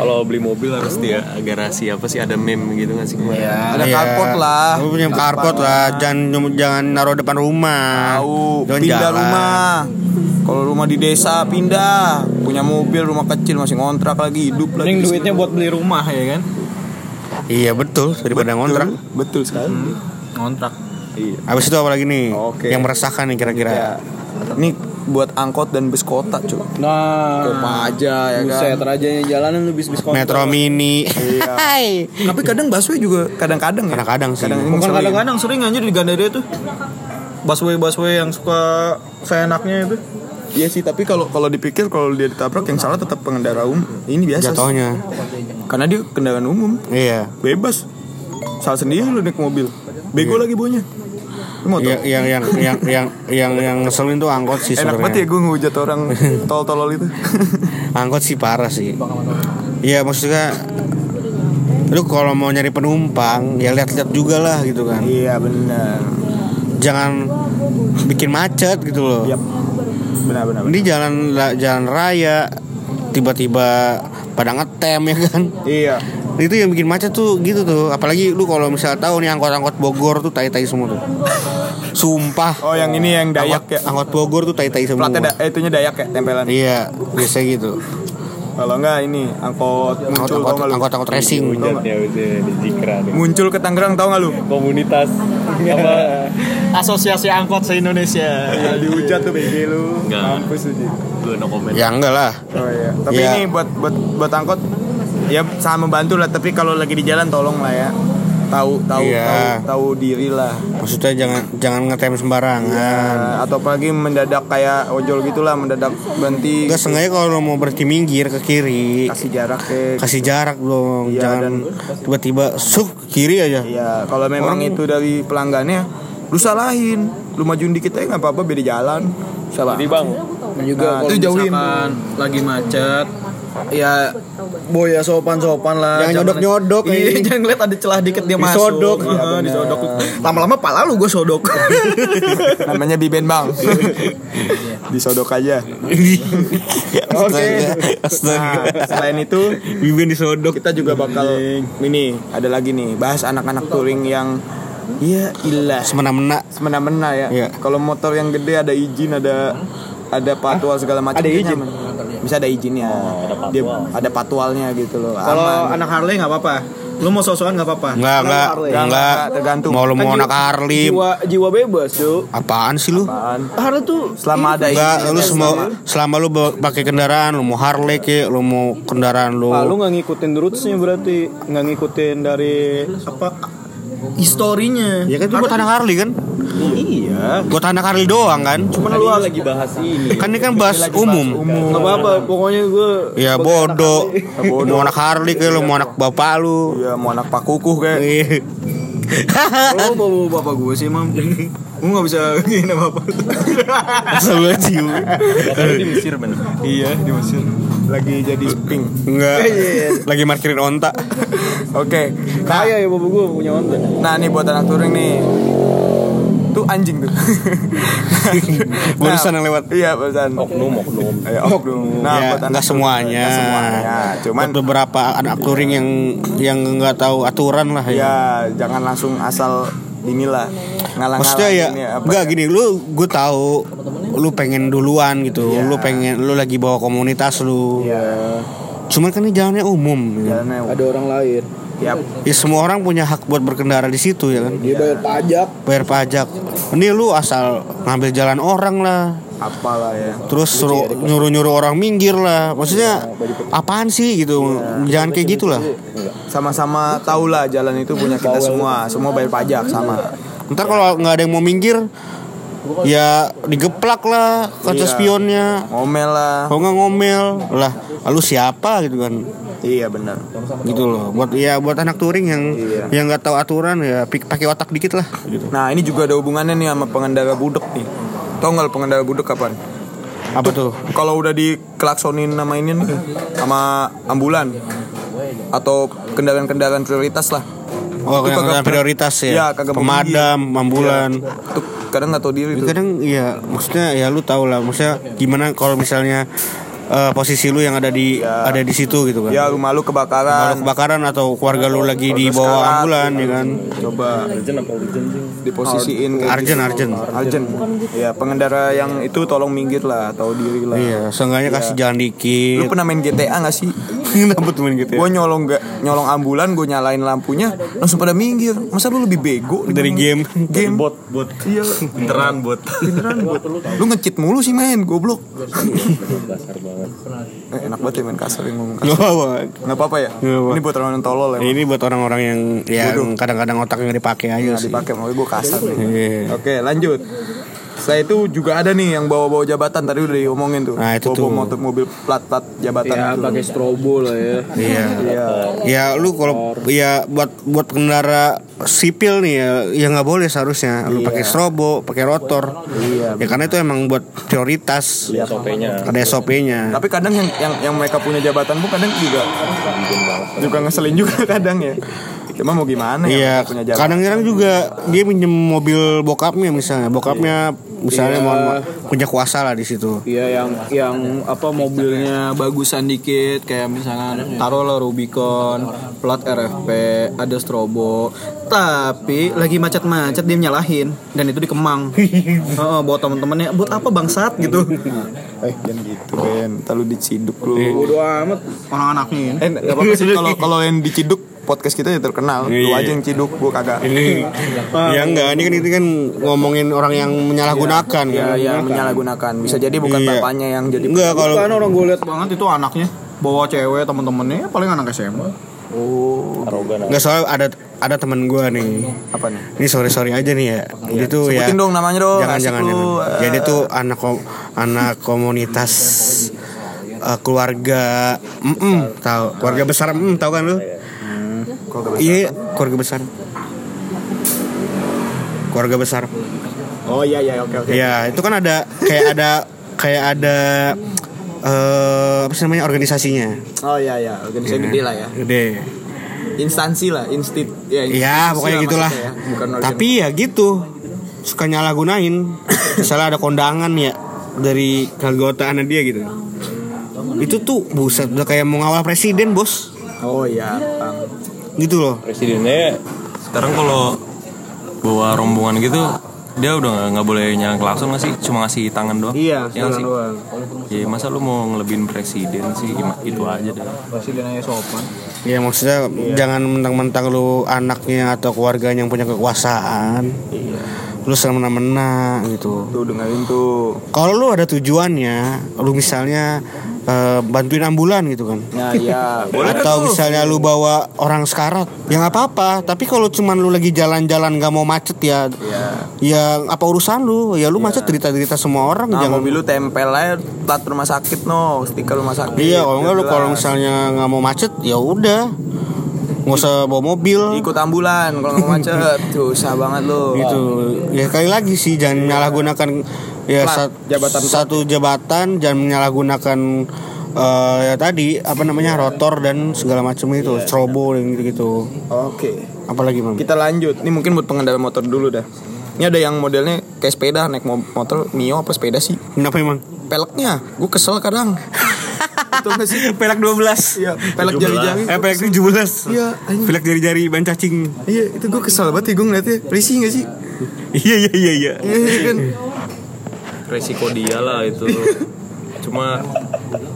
kalau beli mobil harus dia garasi apa sih ada meme gitu nggak sih kemarin?
Ada
Iya.
carport lah.
Lu punya carport lah, jangan jangan naruh depan rumah.
Tahu,
Jangan
pindah
jalan.
rumah. Kalau rumah di desa pindah, punya mobil, rumah kecil masih ngontrak lagi, hidup lagi.
mending duitnya buat beli rumah ya kan
Iya betul, daripada ngontrak.
Betul sekali.
Hmm.
ngontrak
Habis itu apa lagi nih?
Oke.
Yang meresahkan nih kira-kira.
Ya. Ini buat angkot dan bus kota, cuy.
Ah,
nah
aja ya
kan?
buset aja yang jalanan lu bis bis
Metro Mini.
Iya. Tapi kadang busway juga kadang-kadang ya.
Kadang-kadang sih.
Kadang
Bukan kadang-kadang sering anjir di Gandaria tuh busway-busway yang suka seenaknya itu
Iya sih, tapi kalau kalau dipikir kalau dia ditabrak yang salah tetap pengendara umum. Ini biasa. sih.
Jatuhnya.
Karena dia kendaraan umum,
Iya.
bebas. Salah sendiri lu naik mobil.
Iya.
Bego lagi bonya. Lu mau
Yang Iya, yang yang yang yang yang yang ngeselin tuh angkot sih
Enak
sebenarnya.
banget ya gue ngehujat orang tol-tolol itu.
Angkot sih parah sih. Iya maksudnya lu kalau mau nyari penumpang ya lihat-lihat juga lah gitu kan.
iya benar.
Jangan bikin macet gitu loh.
Yap. Benar-benar.
Ini jalan la- jalan raya tiba-tiba pada ngetem ya kan.
Iya.
Itu yang bikin macet tuh gitu tuh. Apalagi lu kalau misal tahu nih angkot-angkot Bogor tuh tai-tai semua tuh. Sumpah.
Oh yang ini yang dayak
angkot,
ya.
angkot Bogor tuh tai-tai semua.
Platnya da- eh, itunya dayak ya tempelan.
Iya, biasa gitu.
Kalau enggak ini angkot
Angkot
muncul
angkot
tau nggak lu?
angkot, angkot racing.
Tau nggak?
Ya udah di Jikra nih.
Muncul ke Tangerang tau nggak lu?
komunitas apa
asosiasi angkot se Indonesia
Ya, dihujat tuh BG lu.
Nggak.
Mampus tuh. Ji.
gue no comment
Ya enggak lah.
Oh iya. Tapi
Iya.
ini buat buat buat angkot ya sangat membantu lah. Tapi kalau lagi di jalan tolong lah ya. Tahu tahu
Iya.
tahu tahu diri lah.
Maksudnya jangan jangan ngetem sembarangan.
Nah, atau apalagi mendadak kayak ojol gitulah mendadak berhenti
Enggak sengaja kalau mau berhenti minggir ke kiri.
kasih jarak ke
Iya. Kasih jarak dong,
Iya,
jangan
dan-
tiba-tiba suk ke kiri aja.
Iya, kalau memang
Orang-
itu dari pelanggannya lu salahin, lu majuin dikit aja nggak apa-apa beda jalan. Salah.
jadi bang
juga
Nah,
kalau
itu jauhin.
misalkan lagi macet
ya boya sopan-sopan lah.
Jangan
Jangan-
nyodok-nyodok,
Iya,
eh.
jangan lihat ada celah dikit dia
Disodok.
masuk. Heeh,
Nah,
Iya,
disodok. Lama-lama pala lu gue sodok. Namanya Biben Bang. disodok aja. Oke. Nah, Selain itu
Bibin disodok.
kita juga bakal ini ada lagi nih bahas anak-anak touring yang ya ilah
Semena-mena.
semena-mena ya.
Iya.
Kalau motor yang gede ada izin, ada ada patwal segala macam.
Ada
dia
izin?
nyaman. Bisa ada izinnya. ada, dia, ada patwalnya gitu loh.
Kalau
Aman.
anak Harley nggak apa-apa. Lu mau sosokan nggak apa-apa.
Enggak, enggak,
Enggak,
enggak.
tergantung.
Mau lu
Kan
mau
jiwa-
anak Harley.
Jiwa, jiwa bebas, Cuk.
Apaan sih lu?
Apaan?
Harley tuh
Selama ada
Enggak,
izinnya,
lu
kan?
semua selama lu bawa- pakai kendaraan, lu mau Harley ke, lu mau kendaraan lu.
Ah, lu nggak ngikutin rootsnya berarti nggak ngikutin dari apa
historinya.
Ya kan itu buat anak Harley kan? Iya. Buat anak Harley doang kan?
Cuman lu lagi bahas
Iya.
ini.
Kan ini kan bahas umum.
nggak apa-apa pokoknya gue
Ya bodoh. Mau anak Harley ke, lu mau anak bapak lu.
Iya, mau anak Pak Kukuh kayak.
Iya.
Lu bawa bapak gue sih, Mam. Gue gak bisa gini sama bapak.
Sebelah cium.
Di Mesir bener.
iya, di Mesir. Lagi jadi pink.
Enggak.
Iya,
Lagi markirin onta.
Oke. Nah,
Iya,
kaya ya bapak gue punya onta
Nah nih buat anak touring nih tuh anjing tuh.
Barusan yang lewat.
Iya barusan. Oknum oknum. Iya oknum. Nah
ya,
buat anak
nggak semuanya.
Nggak semuanya. Cuman
Buat beberapa anak touring yang yang nggak tahu aturan lah ya.
ya jangan langsung asal inilah ngalang-ngalang.
Maksudnya ya,
ini apa
nggak gini. Lu gue tahu lu pengen duluan gitu. Lu pengen lu lagi bawa komunitas lu.
Iya.
Cuman kan ini jalannya umum. ya.
Jalannya.
Iya. Ada orang lain.
Yap.
Ya semua orang punya hak buat berkendara di situ ya
Iya.
kan.
Dia bayar pajak.
Bayar pajak. Ini lu asal ngambil jalan orang lah.
Apalah ya.
Terus suruh nyuruh-nyuruh orang minggir lah. Maksudnya
Iya,
apaan sih gitu. Jangan kayak gitulah.
Sama-sama tahulah jalan itu punya kita semua. Semua
Iya.
bayar pajak sama.
Ntar kalau nggak ada yang mau minggir, ya digeplak lah
Iya.
kaca spionnya.
Ngomel lah.
Kalau nggak ngomel lah, lalu siapa gitu kan?
Iya benar.
Gitu loh. Buat ya buat anak touring yang
Iya.
yang nggak tahu aturan ya pik- pakai otak dikit lah. gitu.
Nah ini juga ada hubungannya nih sama pengendara budek nih. Tau nggak lu pengendara budek kapan?
Apa tuh?
kalau udah dikelaksonin nama ini nih sama ambulan atau kendaraan-kendaraan prioritas lah
Oh,
Itu
yang
kagak
yang prioritas ya.
Iya, kagak
Pemadam, ambulan.
Iya. itu kadang nggak tahu diri
Ya,
tuh
Kadang ya maksudnya ya lu tau lah maksudnya gimana kalau misalnya eh, posisi lu yang ada di
Iya.
ada di situ gitu kan.
ya rumah lu
Kalau
kebakaran
kebakaran atau keluarga lu lagi di
sekarat.
bawah ambulan ya kan.
coba diposisiin kayak
Arjen,
gitu.
Arjen.
Arjen ya pengendara yang itu tolong minggir lah tahu diri lah
Iya, seenggaknya kasih jalan dikit.
lu pernah main GTA nggak sih
Kenapa tuh main gitu ya?
gue nyolong nggak nyolong ambulan gue nyalain lampunya langsung pada minggir masa lu lebih bego
Dari game.
game
Bot bot. Iya. Beneran bot.
Lu ngecit mulu sih main, goblok. eh, enak banget ya main kasar yang ngomong kasar.
Gak apa-apa.
Nggak apa-apa ya?
Nggak Iya apa.
Ini buat orang yang tolol ya.
Ini buat orang-orang yang yang kadang-kadang otaknya nggak dipakai aja
Nggak
sih.
dipakai, makanya gue kasar nih.
Iya.
Oke, lanjut. Saya itu juga ada nih yang bawa-bawa jabatan tadi udah diomongin tuh.
Nah, itu
bawa
tuh.
motor mobil plat-plat jabatan.
Ya
gitu.
pakai strobo lah ya.
Iya.
Iya.
Ya lu kalau ya buat buat pengendara sipil nih ya ya nggak boleh seharusnya lu pakai strobo, pakai rotor. Iya. Ya karena itu emang buat prioritas.
Sopenya.
Ada SOP-nya.
Tapi kadang Kan yang yang yang mereka punya jabatan pun kadang juga juga ngeselin juga kadang ya. Cuma mau gimana
Iya,
ya? mereka punya jabatan.
kadang-kadang juga dia minjem mobil bokapnya misalnya, bokapnya misalnya mohon maaf, punya kuasa lah di situ.
Iya yang yang apa mobilnya bagusan dikit kayak misalkan taruhlah Rubicon, plat RFP, ada strobo. Tapi lagi macet-macet dia nyalahin dan itu di Kemang. Heeh, buat teman-temannya buat apa bangsat gitu.
Eh, jangan gitu, Ben. Entar lu diciduk lu.
Bodoh amat orang anaknya.
Eh, gak apa-apa sih kalau kalau yang diciduk podcast kita ya terkenal. Lu aja yang ciduk, gua kagak.
Ini ya enggak, ini kan itu kan ngomongin orang yang menyalahgunakan kan.
Ya, ya menyalahgunakan. Bisa jadi bukan
Iya.
bapaknya yang jadi.
Enggak kalau
Kan orang gue lihat banget itu anaknya bawa cewek teman-temannya paling anak SMA.
Nggak soal ada ada teman gue nih.
Apa nih? Iya,
Ini sorry sorry aja nih ya. Dia tuh ya.
Sebutin dong namanya dong.
Jangan
Asik
jangan.
lu,
jangan.
eh.
Jadi tuh anak kom- anak komunitas eh, keluarga mm tahu keluarga besar mm tahu kan lu
Hmm.
iya keluarga besar keluarga besar
Oh iya iya oke oke.
ya itu kan ada kayak ada kayak ada eh, apa sih namanya organisasinya
Oh iya iya, organisasi gede lah ya.
gede
Instansi lah, instit ya. institusi
Iya
lah
pokoknya gitulah.
maksudnya ya, Bukan organ-
Tapi ya gitu suka nyalahgunain. Misalnya ada kondangan ya dari keanggotaannya dia gitu. Itu tuh buset udah kayak mau ngawal presiden bos
Oh iya, Bang.
gitu loh.
presidennya sekarang kalau bawa rombongan gitu dia udah nggak- nggak boleh nyala klakson nggak sih cuma ngasih tangan doang
Iya,
Ya nggak
tangan
sih?
doang.
ya masa lu mau ngelebihin presiden sih Gimana- itu aja deh
Iya,
Ya maksudnya jangan mentang-mentang lu anaknya atau keluarganya yang punya kekuasaan.
Iya.
Lu semena-mena gitu.
Tuh dengerin tuh.
Kalau lu ada tujuannya, lu misalnya eh, bantuin ambulan gitu kan.
Nah, iya.
atau misalnya lu bawa orang sekarat ya nggak apa-apa tapi kalau cuman lu lagi jalan-jalan nggak mau macet ya
Iya.
ya apa urusan lu ya lu macet cerita-cerita semua orang
Nah,
jangan
mobil lu tempel aja plat rumah sakit no, stiker rumah sakit.
iya kalau nggak lu kalau
Jelas.
misalnya nggak mau macet ya udah nggak usah bawa mobil
ikut ambulan kalau nggak mau macet tuh susah banget lu
gitu ya kali lagi sih jangan menyalahgunakan ya
Plat,
sat-
jabatan plat.
satu jabatan jangan menyalahgunakan eh, ya tadi apa namanya rotor dan segala macam itu strobo dan gitu-gitu
oke
apalagi mam
kita lanjut ini mungkin buat pengendara motor dulu dah ini ada yang modelnya kayak sepeda naik mo- motor mio apa sepeda sih
kenapa emang
peleknya gue kesel kadang itu nggak sih
pelak 12
iya pelek jari-jari
Eh, pelek 17
iya anjing.
Pelek jari-jari ban cacing
iya itu gue kesel banget ya gue ngeliatnya risih nggak sih
Iya iya iya iya
iya iya kan
resiko dia lah itu cuma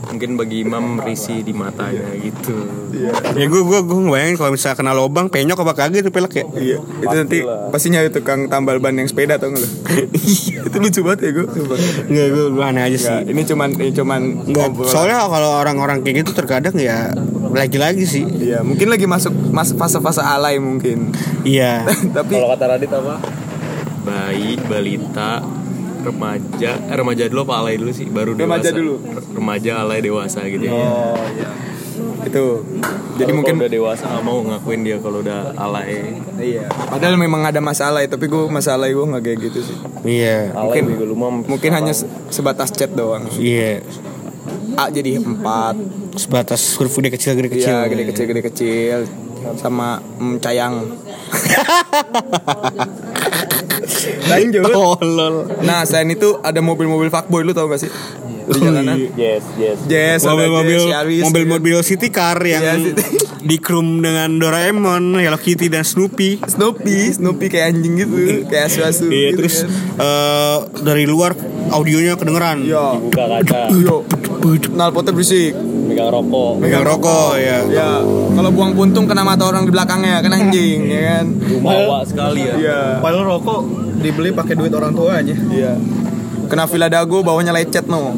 mungkin bagi imam risi di matanya gitu
Ya gue gue gue ngebayangin kalau misalnya kena lobang penyok apa kagak itu pelek ya
iya itu nanti pasti nyari tukang tambal ban yang sepeda tau nggak lu Iya, itu lucu banget ya gue
Enggak gue gue aneh aja sih
Iya, ini cuman ini cuman
Nggak,
obrolan.
soalnya kalau orang-orang kayak gitu terkadang ya lagi-lagi sih
Iya, mungkin lagi masuk mas fase-fase alay mungkin.
Iya
Tapi
Kalau kata Radit apa?
bayi balita remaja eh, remaja dulu apa alay dulu sih baru
Remaja
dewasa
dulu.
R- remaja alay dewasa gitu ya
oh iya. Itu jadi
Kalau
mungkin
udah dewasa nggak mau ngakuin dia kalau udah alay
iya. Padahal memang ada masalah, tapi gue masalah gue nggak kayak gitu sih.
Iya
alay mungkin, lu mau
Mungkin hanya se- sebatas chat doang.
Iya
A jadi 4,
Sebatas huruf gede kecil gede kecil
ya gede kecil gede kecil sama mm, cayang. Lanjut.
Tolol
Nah, selain itu ada mobil-mobil fuckboy lu tau gak sih? Di jalanan.
yes yes
Jazz,
Eh,
ada
Mobil-mobil
Jazz, Yaris,
Mobil-mobil city car
Iya,
yang
city.
Dikrum dengan Doraemon Hello Kitty dan Snoopy
Snoopy, Snoopy kayak anjing gitu, kayak asu-asu
Iya
gitu
terus
kan.
eh, dari luar audionya kedengeran.
Iya.
buka kaca
Iya. Nalpotnya berisik.
megang rokok
Megang rokok ya.
Ya, kalau buang puntung kena mata orang di belakangnya, kan anjing, ya kan?
bawa sekali ya
Iya.
Padahal rokok dibeli pakai duit orang tuanya.
Iya. Kena Villa Dago bawahnya lecet no.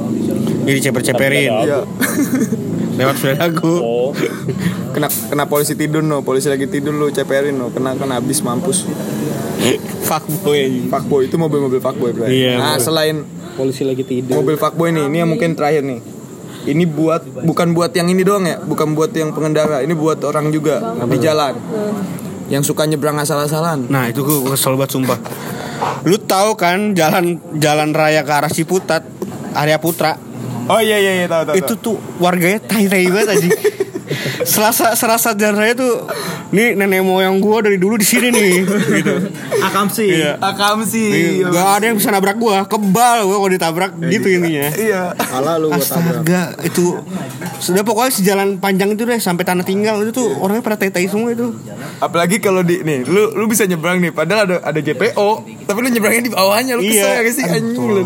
Jadi ceper-ceperin
Iya.
lewat Velago.
oh
kena kena polisi tidur no, polisi lagi tidur lu ceperin no, kena kena habis mampus.
Fuck boy.
Fuckboy itu mobil-mobil fuckboy bro.
Iya,
nah,
bener.
selain
Polisi lagi tidur.
mobil fuckboy nih, ini yang mungkin terakhir nih. Ini buat bukan buat yang ini doang ya, bukan buat yang pengendara, ini buat orang juga di jalan.
Hmm.
Yang suka nyebrang asal-asalan.
Nah itu gue kesel banget sumpah. Lu tahu kan jalan jalan raya ke arah Ciputat area Putra
Oh iya iya iya tahu tahu.
itu tuh warganya tai tai banget aja. Selasa serasa jalan raya tuh nih nenek moyang gua dari dulu di sini nih gitu.
Akamsi.
Iya.
akam sih.
Nih, Gak ada yang bisa nabrak gua, kebal gua kalau ditabrak gitu intinya.
Iya.
Salah lu gua tabrak.
Astaga itu sudah pokoknya sejalan panjang itu deh sampai tanah tinggal itu tuh orangnya pada tai-tai semua itu.
Apalagi kalau di nih, lu lu bisa nyebrang nih, padahal ada ada JPO, tapi lu nyebrangnya di bawahnya, lu kesel
Iya.
gak sih anjing lu.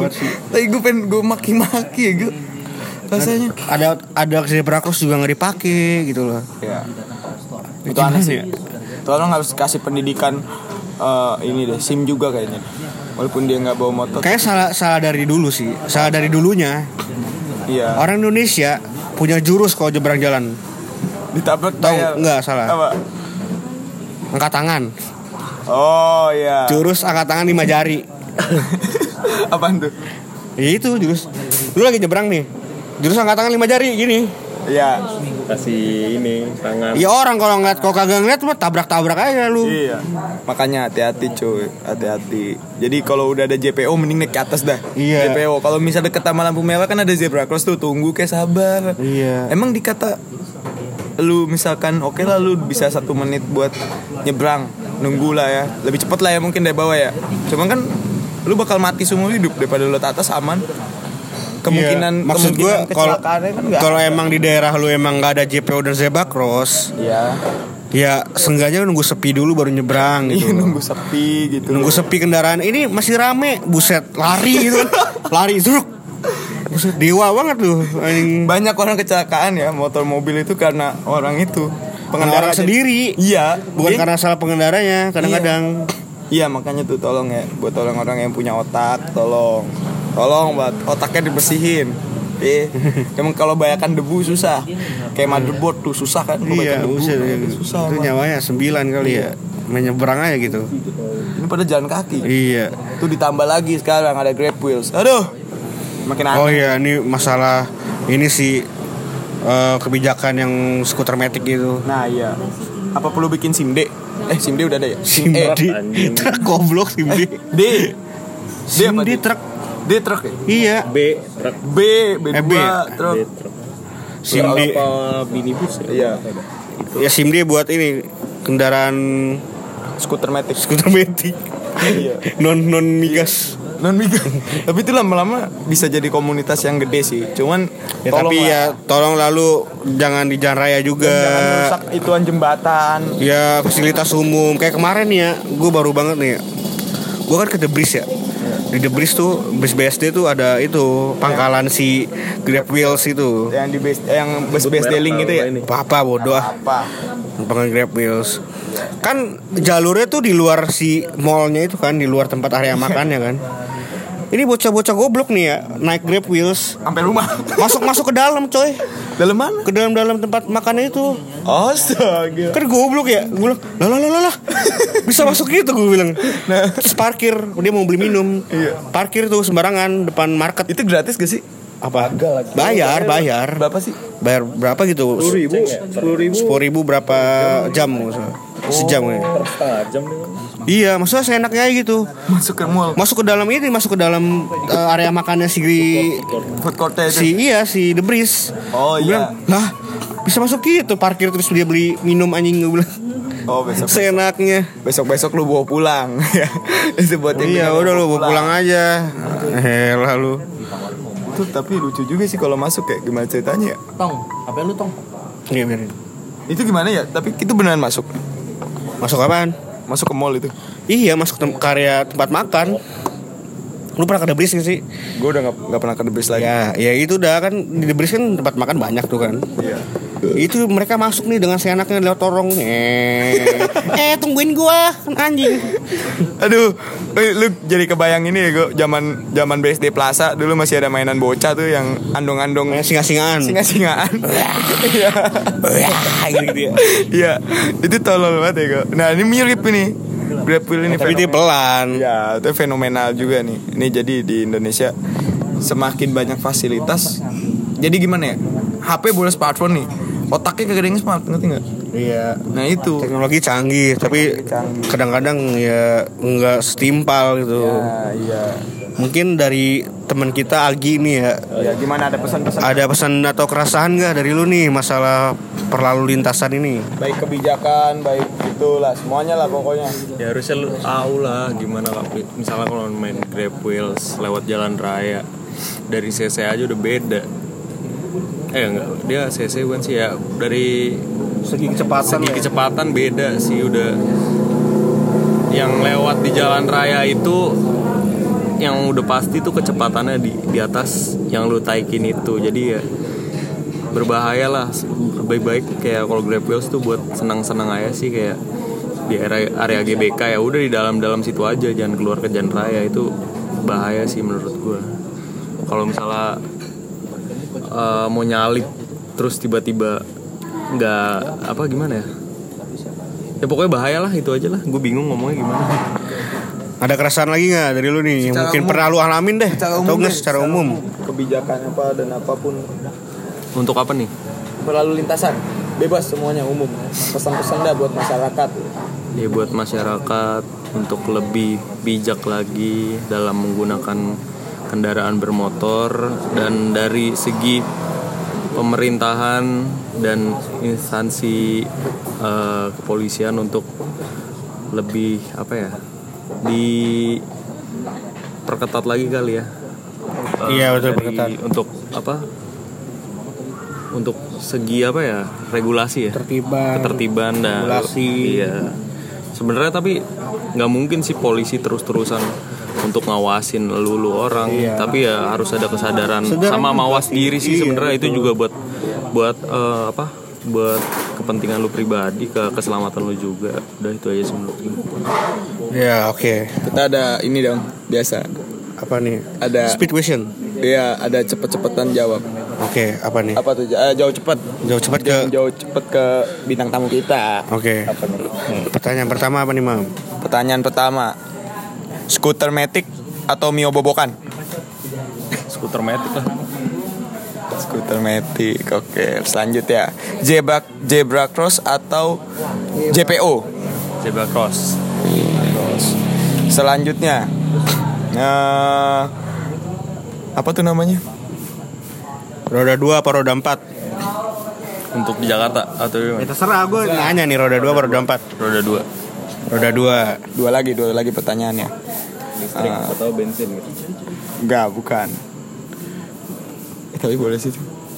Tapi gue pengen gue maki-maki ya gue rasanya.
Ada ada zebra cross juga nggak dipakai gitu loh.
Iya. Itu aneh sih. Tolong harus kasih pendidikan eh, ini deh, SIM juga kayaknya. Walaupun dia nggak bawa motor.
Kayak salah salah dari dulu sih, salah dari dulunya.
Iya.
Orang Indonesia punya jurus kalau jebrang jalan,
Ditabrak
Tahu,
Iya.
kayak-
nggak, salah.
Apa?
angkat tangan.
Oh iya.
Jurus angkat tangan lima jari.
Apaan tuh?
Ya itu jurus. Lu lagi jebrang nih. Jurus angkat tangan lima jari gini.
Iya.
kasih ini tangan
Ya orang kalau ngeliat kalau kagak ngeliat mah tabrak-tabrak aja lu.
Iya. Makanya hati-hati cuy, hati-hati. Jadi kalau udah ada JPO mending naik ke atas dah.
Iya.
JPO kalau misalnya deket sama lampu merah kan ada zebra cross tuh, tunggu kayak sabar.
Iya.
Emang dikata lu misalkan oke lah lu bisa satu menit buat nyebrang nunggu lah ya lebih cepet lah ya mungkin dari bawah ya cuman kan lu bakal mati seumur hidup daripada lu ke atas aman kemungkinan
Iya. maksud gue
kemungkinan
kalau
kecelakaannya kan nggak
kalau
ada.
emang di daerah lu emang nggak ada JPO dan Zebra Cross,
Iya.
ya sengganya nunggu sepi dulu baru nyebrang
Iya,
gitu.
nunggu sepi gitu
Nunggu sepi kendaraan ini masih rame, buset lari gitu, lari zruk. Buset dewa banget lu. Anjing.
banyak orang kecelakaan ya motor mobil itu karena orang itu
Pengendara
jadi-
sendiri,
iya
bukan
dia-
karena salah pengendaranya kadang-kadang.
iya makanya tuh tolong ya buat orang-orang yang punya otak tolong tolong buat otaknya dibersihin eh emang kalau bayakan debu susah kayak motherboard tuh susah kan kalau
Iya,
bayakan debu
buset.
susah
Itu
Bang.
nyawanya sembilan kali ya. Menyeberang aja gitu.
ini pada jalan kaki
Iya.
tuh ditambah lagi sekarang ada grab wheels aduh makin aneh
Oh iya, ini masalah ini sih eh, kebijakan yang skuter metik gitu.
nah iya apa perlu bikin simde eh simde udah ada ya
Simdi,
Eh,
truk goblok Simdi.
D D apa
Simdi
D?
truk.
D truk ya?
Iya,
B truk
B B2
Eh, B ya?
truk
B truk
Simdi.
apa minibus ya
iya
Ya Simdi buat ini kendaraan
skuter matic
skuter metik.
iya
Non non migas.
non migas tapi itu lama-lama bisa jadi komunitas yang gede sih cuman
Ya, tapi ya tolong lalu jangan di jalan raya juga.
jangan rusak ituan jembatan
Ya fasilitas umum kayak kemarin nih ya, gue baru banget nih. Gue kan ke The Breeze ya. Di The Breeze tuh, Breeze BSD tuh ada itu pangkalan si Grab Wheels itu.
yang di base eh, yang bus base dealing gitu ya
Apa bodoh ah,
apa
pangkalan Grab Wheels. Kan jalurnya tuh di luar si mallnya itu kan, di luar tempat area makannya kan. Ini bocah-bocah goblok nih ya, naik Grab Wheels.
sampai rumah
Masuk-masuk ke dalam coy,
dalam mana
ke dalam-dalam tempat makannya itu.
astaga
kan goblok ya gue bilang lah lah lah lah, lah bisa masuk gitu gue bilang terus parkir dia mau beli minum parkir tuh sembarangan depan market
itu gratis gak sih
apa bayar bayar
berapa sih
bayar berapa gitu
sepuluh ribu sepuluh ribu
sepuluh ribu berapa jam maksudnya? sejam kayaknya.
setengah jam deh
iya maksudnya seenaknya aja gitu
masuk ke mall
masuk ke dalam ini masuk ke dalam eh, area makannya si Gri-
food court
si
itu
iya si The Breeze
oh
Gua bilang
iya
lah bisa masuk gitu parkir terus dia beli minum anjing gue bilang
oh besok
seenaknya
besok besok lu bawa pulang Ya. itu buat yang
Iya
pengen
udah lu bawa pulang aja Eh lalu
Itu tapi lucu juga sih kalau masuk kayak gimana ceritanya ya
Tong, apa lu tong?
Iya biarin
itu gimana ya tapi itu beneran masuk
Masuk apaan?
masuk ke mall itu
Iya masuk tem karya tempat makan Lu pernah ke The Breeze nggak sih?
gue udah nggak nggak pernah ke The Breeze lagi
Ya, ya itu udah kan Di The Breeze kan tempat makan banyak tuh kan
Iya.
Itu mereka masuk nih dengan seenaknya lewat torong Eh, eh tungguin gua kan anjing
aduh eh, lu jadi kebayang ini ya gue zaman zaman BSD Plaza dulu masih ada mainan bocah tuh yang andong-andong
Kayak singa-singaan
singa-singaan iya
gitu ya.
iya itu tolol banget ya gue nah ini mirip ini Grab Wheel ini
Tapi dia
fenomenal.
pelan
ya itu fenomenal juga nih ini jadi di Indonesia semakin banyak fasilitas jadi gimana ya HP boleh smartphone nih otaknya kegedean smart ngerti nggak
Iya
nah itu
Teknologi canggih Tapi
canggih.
kadang-kadang ya nggak setimpal gitu
Nah, iya
Mungkin dari teman kita Agi nih ya
ya gimana ada pesan-pesan
Ada pesan atau keresahan nggak dari lu nih masalah perlalu lintasan ini?
baik kebijakan baik itulah semuanya lah pokoknya
ya harusnya lu tahu lah gimana lah misalnya kalau main grab wheels lewat jalan raya dari cc aja udah beda eh enggak dia cc bukan sih ya dari
Segi kecepatan.
ya?
segi kecepatan beda sih udah yang lewat di jalan raya itu yang udah pasti tuh kecepatannya di di atas yang lu taikin itu jadi ya berbahaya lah lebih baik kayak kalau grab wheels tuh buat senang-senang aja sih kayak di area, area GBK ya udah di dalam-dalam situ aja jangan keluar ke jalan raya itu bahaya sih menurut gua kalau misalnya eh, mau nyalip terus tiba-tiba nggak apa gimana ya ya pokoknya bahaya lah itu aja lah gue bingung ngomongnya gimana
Ada keresahan lagi nggak dari lu nih? Yang
Secara
Mungkin
umum.
pernah lu alamin deh. Atau nggak secara umum?
kebijakan apa dan apapun
untuk apa nih
berlalu lintasan bebas semuanya umum pesan-pesan dah buat masyarakat
ya buat masyarakat untuk lebih bijak lagi dalam menggunakan kendaraan bermotor dan dari segi pemerintahan dan instansi eh, kepolisian untuk lebih apa ya di perketat lagi kali ya Eh,
Iya, betul,
dari-
perketat.
untuk apa untuk segi apa ya regulasi ya
Ketertiban.
ketertiban dan
Regulasi.
iya sebenarnya tapi nggak mungkin sih polisi terus-terusan untuk ngawasin lu lu orang tapi ya harus ada kesadaran
Kesadaran
sama mawas diri sih
Iya,
sebenarnya itu juga buat buat eh, apa buat kepentingan lu pribadi ke keselamatan lu juga udah itu aja sih menurut gue
Ya oke.
Kita ada ini dong biasa.
Apa nih?
Ada-
Speed question.
Iya ada cepet-cepetan jawab.
Oke, apa nih?
Apa tuh? Eh, jauh cepet.
Jauh cepat ke.
Ya.
Jauh cepet ke bintang tamu kita.
Oke. Pertanyaan pertama apa nih, Mam?
Pertanyaan pertama. Skuter metik atau Mio bobokan?
skuter metik lah
Skuter metik. Oke, lanjut ya. Jebak Zebra Cross atau JPO?
Zebra cross
Selanjutnya. eh, apa tuh namanya?
Roda 2 apa roda 4?
untuk di Jakarta atau di
Ya
mana?
terserah gue nanya nih roda 2 apa roda 4?
roda dua
Roda 2.
Dua lagi, dua lagi pertanyaannya.
listrik atau bensin gitu
Enggak, bukan. Eh, tapi boleh sih.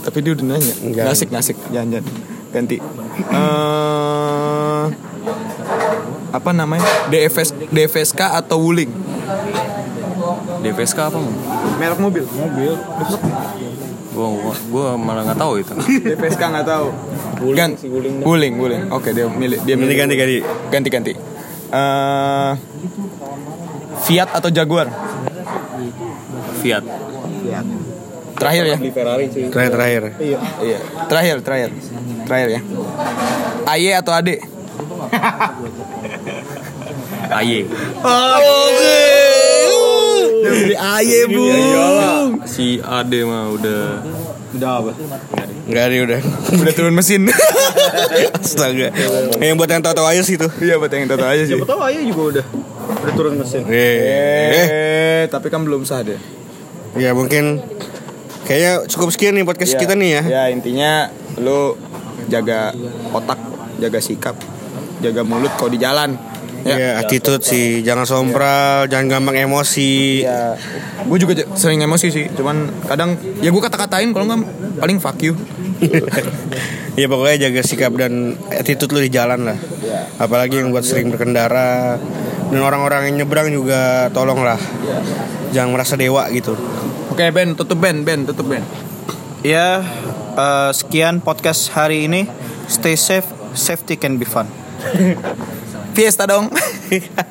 Tapi dia udah nanya.
Enggak.
Nasik, nasik. Jangan, jangan. Ganti. eh apa namanya? DFS, DFSK atau Wuling?
DPSK apa Mam?
Merek mobil.
gua gua, gua malah nggak tahu itu
DFSK nggak tahu. Gan, wuling, wuling, Oke, dia milih, dia milih.
Ganti ganti ganti.
ganti, ganti. Eh, Fiat atau Jaguar?
Fiat
Terakhir ya.
Terakhir terakhir.
Iya. Terakhir, terakhir, terakhir ya. Aye atau Ade?
Aye
Oke. Dia milih Aye bu.
iya, si Ade mah udah
Enggak ada udah.
Udah turun mesin.
Astaga. Yang buat yang tahu-tahu aja sih itu.
Iya, buat yang tahu aja sih.
Tahu aja juga udah udah turun mesin.
Eh.
Eh, tapi kan belum sah deh.
Ya mungkin kayaknya cukup sekian nih podcast
Ya,
kita nih ya.
Ya intinya lu jaga otak, jaga sikap, jaga mulut kalau di jalan.
Ya, attitude sih, jangan sompral, jangan gampang emosi.
Ya. Gue juga j- sering emosi sih, cuman kadang ya gue kata-katain kalau nggak paling fuck you.
ya pokoknya jaga sikap dan attitude lu di jalan lah. Apalagi yang buat sering berkendara dan orang-orang yang nyebrang juga tolonglah. Jangan merasa dewa gitu.
Oke Ben, tutup Ben, Ben, tutup Ben.
Ya, eh, sekian podcast hari ini. Stay safe, safety can be fun.
Fiesta dong.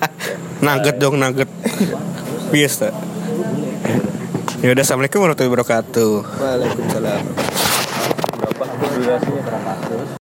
Nugget dong nugget. Biasa. Ya udah assalamualaikum warahmatullahi wabarakatuh.
Waalaikumsalam.